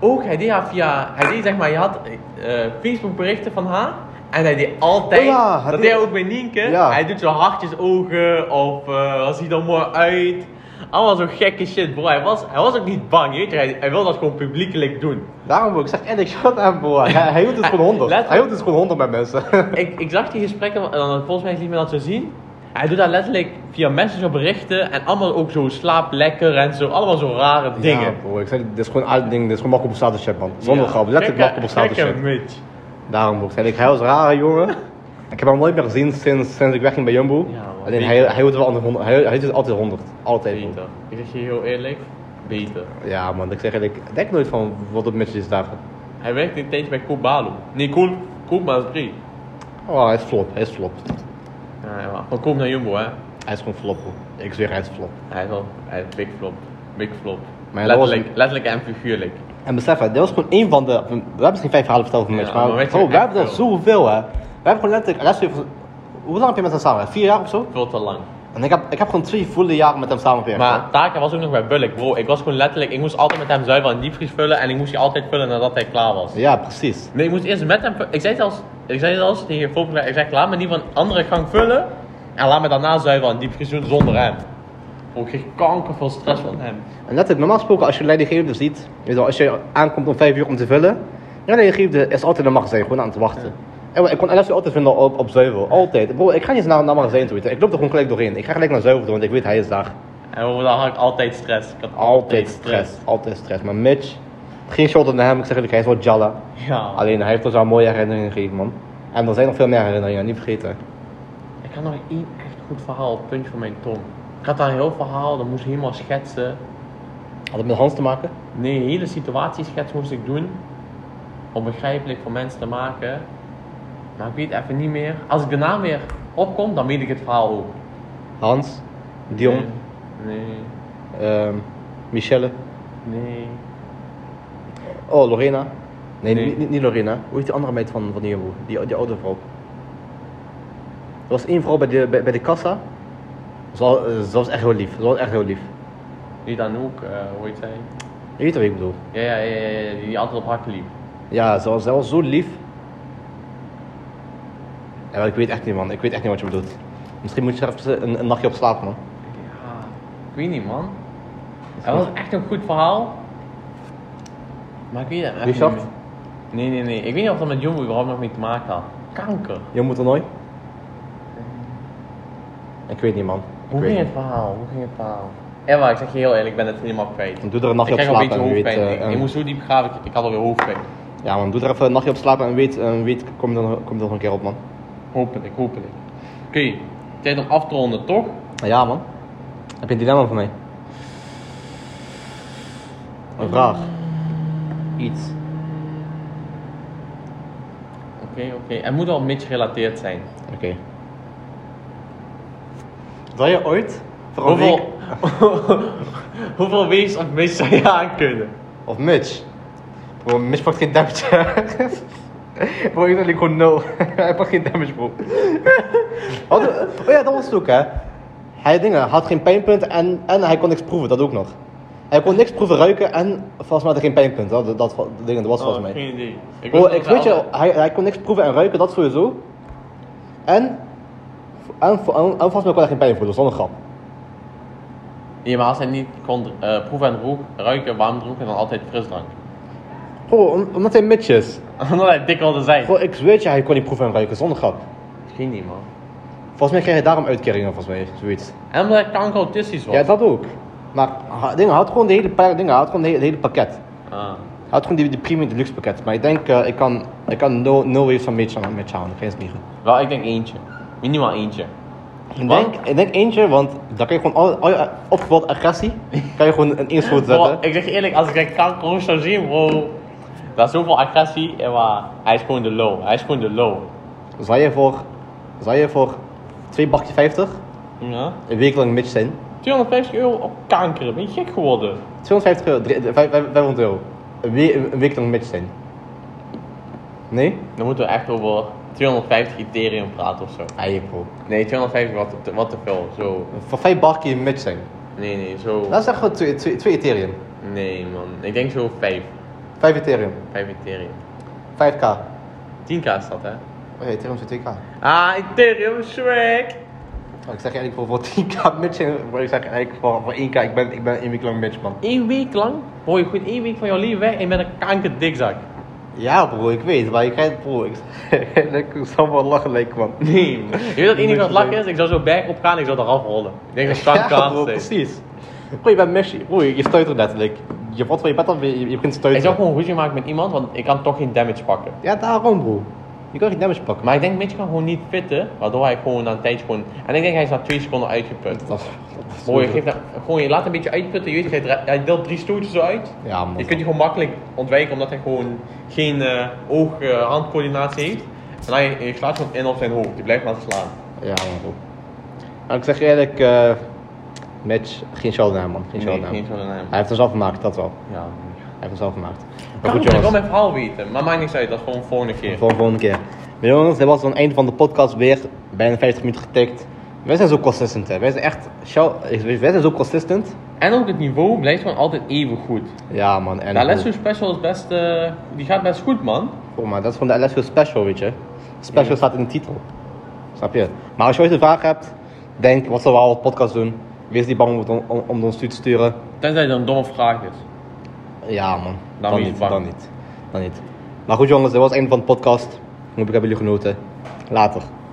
ook, hij deed haar via, hij deed zeg maar, je had eh Facebook berichten van haar. En hij deed altijd, Oh ja, hij dat deed- deed hij ook bij Nienke. Ja. Hij doet zo hartjes ogen, of eh als hij er mooi uit. Allemaal zo gekke shit, bro. Hij was, hij was ook niet bang, weet je. Hij, hij wil dat gewoon publiekelijk doen. Daarom wil ik zeg en ik shut hem bro. Hij, hij hield het gewoon honderd. Letterlijk. Hij hield het gewoon honderd met mensen. Ik, ik zag die gesprekken, en dan, volgens mij liet me dat zo zien. Hij doet dat letterlijk via Messenger berichten en allemaal ook zo slaap lekker en zo. Allemaal zo rare Ja, dingen. bro, ik zeg, dit is gewoon uit ding, dit is gewoon Marco Borsato shit man. Zonder Ja, grap, letterlijk Marco gekke- Borsato gekke shit. Mitch. Daarom bro, ik zeg, ik, hij was een rare jongen. Ik heb hem nooit meer gezien sinds, sinds ik wegging bij Jumbo. Ja, man. Alleen hij, hij hield wel altijd honderd, hij, hij hield het altijd honderd. Altijd bro. Beter. Ik zeg je heel eerlijk, beter. Ja man, ik zeg eigenlijk, ik denk nooit van wat het met je is daar. Hij werkt een tijdje bij Koopbalo. Nee, Koop, Koopmaas 3. Oh, hij is flop, hij is flop. Ah, Ja, ja, maar van Koop naar Jumbo, hè. Hij is gewoon flop bro. Ik zweer, hij is flop. Hij is wel, hij is big flop. Big flop. Maar ja, dat was letterlijk, letterlijk en figuurlijk. En besef, hè, dit was gewoon één van de. We hebben misschien vijf verhalen verteld van Ja, mensen, maar maar, weet je, bro, we echt hebben er veel. zoveel, hè. We hebben gewoon letterlijk. Rest even, hoe lang heb je met hem samen? Vier jaar of zo? Veel te lang. En ik heb, ik heb gewoon twee volle jaren met hem samengewerkt. Maar Taka was ook nog bij Bulk, bro. Ik was gewoon letterlijk, ik moest altijd met hem zuiver en diepvries vullen en ik moest die altijd vullen nadat hij klaar was. hè. Ja, precies. Nee, ik moest eerst met hem vu- Ik zei zelfs, ik zei zelfs tegen Volker, ik zeg laat me die van andere gang vullen en laat me daarna zuiver en diepvries doen zonder hem. Bro, ik kreeg kanker veel stress van hem. En letterlijk, normaal gesproken, als je leidinggevende dus ziet, weet je wel, als je aankomt om vijf uur om te vullen, ja, leidinggevende is altijd een magazijn, gewoon aan het wachten. En ik kon LSU altijd vinden op, op Zuivel, altijd. Bro, ik ga niet eens naar, naar magazijn toe, weet je. ik loop er gewoon gelijk doorheen. Ik ga gelijk naar Zuivel toe, want ik weet hij is daar. En over dan had ik altijd stress. Ik had Altijd stress, altijd stress. Maar Mitch, geen shot naar hem, ik zeg eerlijk, hij is wel Jalla. Ja. Alleen hij heeft ons wel een mooie herinneringen gegeven, man. En er zijn nog veel meer herinneringen, niet vergeten. Ik had nog één echt goed verhaal op het puntje van mijn tong. Ik had daar een heel verhaal, dat moest ik helemaal schetsen. Had het met Hans te maken? Nee, een hele situatieschets moest ik doen. Om begrijpelijk voor mensen te maken. Maar ik weet even niet meer. Als ik daarna weer opkom, dan weet ik het verhaal ook. Hans, Dion, Nee. ehm, Michelle. Nee. Oh, Lorena. Nee, Nee. Niet, niet, niet Lorena. Hoe heet die andere meid van, van die jongen? Die, die oude vrouw. Er was één vrouw bij de, bij, bij de kassa. Ze was, eh, ze was echt heel lief. Ze was echt heel lief. Die dan ook, eh, hoe heet zij? Je weet wat ik bedoel. Ja, ja, ja, ja, ja, die, die altijd op hak liep. Ja, ze was, ze was zo lief. Ja, maar ik weet echt niet, man. Ik weet echt niet wat je bedoelt. Misschien moet je er even een, een nachtje op slapen, man. Ja, ik weet niet man. Het was echt een goed verhaal. Maar ik weet het echt Richard? niet meer. Nee, nee, nee. Ik weet niet of dat met Jumbo überhaupt nog mee te maken had. Kanker. Je moet er nooit. Ik weet niet, man. Ik Hoe weet ging niet. het verhaal? Hoe ging het verhaal? Emma, ik zeg je heel eerlijk, ik ben het helemaal kwijt. Dan doe er een nachtje ik op krijg al een slapen beetje en weet... hoofdpijn. eh, ik, en- ik moest zo diep graven, ik, ik had alweer hoofdpijn. ja, man. Doe er even een nachtje op slapen en weet... En weet kom je er, nog- kom je er nog een keer op, man. Hopelijk, hopelijk. Oké, tijd om af te ronden, toch? Ja, man. Heb je een dilemma voor mij? Een vraag. Iets. Oké, oké. Het moet wel een beetje gerelateerd zijn. Oké. Zou je ooit voor een week... Hoeveel, hoeveel wees of mis zou je aankunnen? Of Mitch? Bro, Mitch pakt geen damage. bro, ik denk gewoon no. Hij pakt geen damage, bro. Had- oh ja, dat was het ook, hè. Hij dingen, had geen pijnpunt en, en hij kon niks proeven, dat ook nog. Hij kon niks proeven, ruiken en volgens mij had hij geen pijnpunt. Dat, dat, dat, dingen, dat was volgens mij. Oh, Geen idee. Ik Bro, wist ik dat weet wel. je, hij, hij kon niks proeven en ruiken, dat sowieso. En, en, en, en volgens mij kon hij geen pijn voelen, zonder grap. Ja, maar als hij niet kon eh, proeven en rook, ruiken, warm drinken, dan altijd frisdrank. Bro, om- omdat hij Mitch is. Omdat hij dik wilde zijn. Bro, ik weet je, hij kon niet proeven en ruiken, zonder grap. Geen niet, man. Volgens mij kreeg hij daarom uitkeringen, volgens mij, zoiets. En omdat hij kanker-autistisch was. Ja, dat ook. Maar ha- dingen, hij had gewoon de hele paar dingen, hij had gewoon de hele, het hele pakket. Hij Ah. had gewoon die, die premium deluxe pakket. Maar ik denk, eh, ik kan, ik kan no, no waves van Mitch aan Mitch houden, ik ga eens liegen. Wel, ik denk eentje. Minimaal eentje. Ik denk, ik denk eentje, want dan kan je gewoon al, al je opgebouwde agressie, kan je gewoon in één schoot zetten. Bro, ik zeg je eerlijk, als ik een kanker rook zou zien, bro. Dat is zoveel agressie, en maar hij is gewoon de low. Hij is gewoon de low. Zou je voor, zou je voor 2 bakje 50 Ja? een week lang Mitch zijn? 250 euro op kanker, ben je gek geworden? 250 euro, drie- vijf- vijf- 500 euro. Een week, een week lang Mitch zijn. Nee? Dan moeten we echt over 250 Ethereum praten of zo. Ei, bro. Nee, 250 wat te, wat te veel. Zo. Voor 5 bakje Mitch zijn. Nee, nee, zo. Dat is echt Nou, gewoon 2 Ethereum. Nee, man. Ik denk zo 5. 5 Ethereum. 5 Ethereum. 5k. 10k is dat, hè? Oh ja, Ethereum is 2k. Ah, Ethereum swag! Oh, ik zeg eigenlijk voor, voor 10k Mitch zijn, maar ik zeg eigenlijk voor, voor 1k, ik ben, ik ben een week lang Mitch man. Eén week lang hoor je goed één week van jouw leven weg en je bent een kankerdikzak. Ja bro, ik weet, maar ik krijg bro, ik, ik zal wel lachen lijken man. Nee, man. Je weet dat het enige wat lak is? Ik zou zo berg op gaan en ik zou eraf rollen. Ik denk dat Ja, kanker bro, precies. Bro, je bent Messi. Bro, je je stuitert letterlijk. Je valt van je bed af, je, je begint te Ik zou stuiteren. gewoon ruzie maken met iemand, want ik kan toch geen damage pakken. Ja, daarom bro. Je kan geen damage pakken. Maar ik denk, Mitch kan gewoon niet fitten, waardoor hij gewoon na een tijdje gewoon... En ik denk, hij is na twee seconden uitgeput. Dat is- dat is Mooi, je, zo- geeft nou- gewoon, je laat een beetje uitputten, je weet, hij dra- hij deelt drie stootjes zo uit. Ja man. Je kunt je gewoon makkelijk ontwijken omdat hij gewoon geen eh, oog-handcoördinatie heeft. En hij, je slaat gewoon in op zijn hoofd, die blijft maar slaan. Ja man bro. Maar ik zeg je eerlijk, eh Mitch, geen showdown man. Geen showdown. geen zo'n naam. Hij heeft hem zelf gemaakt, dat wel. Ja. Hij heeft hem zelf gemaakt. Maar Kan goed ik wil jongens. mijn verhaal weten, maar maakt niks uit, dat is gewoon volgende keer. Voor de volgende keer. Maar jongens, dit was dan het einde van de podcast weer. Bijna 50 minuten getikt. Wij zijn zo consistent, hè. Wij zijn echt... shout- Wij zijn zo consistent. En ook het niveau blijft gewoon altijd even goed. Ja, man. En De Alessio Special is best, eh, die gaat best goed man. Oh, maar dat is gewoon de LSU Special, weet je. Special Ja. staat in de titel. Snap je? Maar als je ooit een vraag hebt, denk, wat zullen we al op podcast doen? Wees niet bang om, het on- om, om ons toe te sturen. Tenzij het een domme vraag is. Ja, man. Dan wees niet, bang. dan niet. Dan niet. Maar goed, jongens, dit was het einde van de podcast. Hoop ik hebben jullie genoten. Later.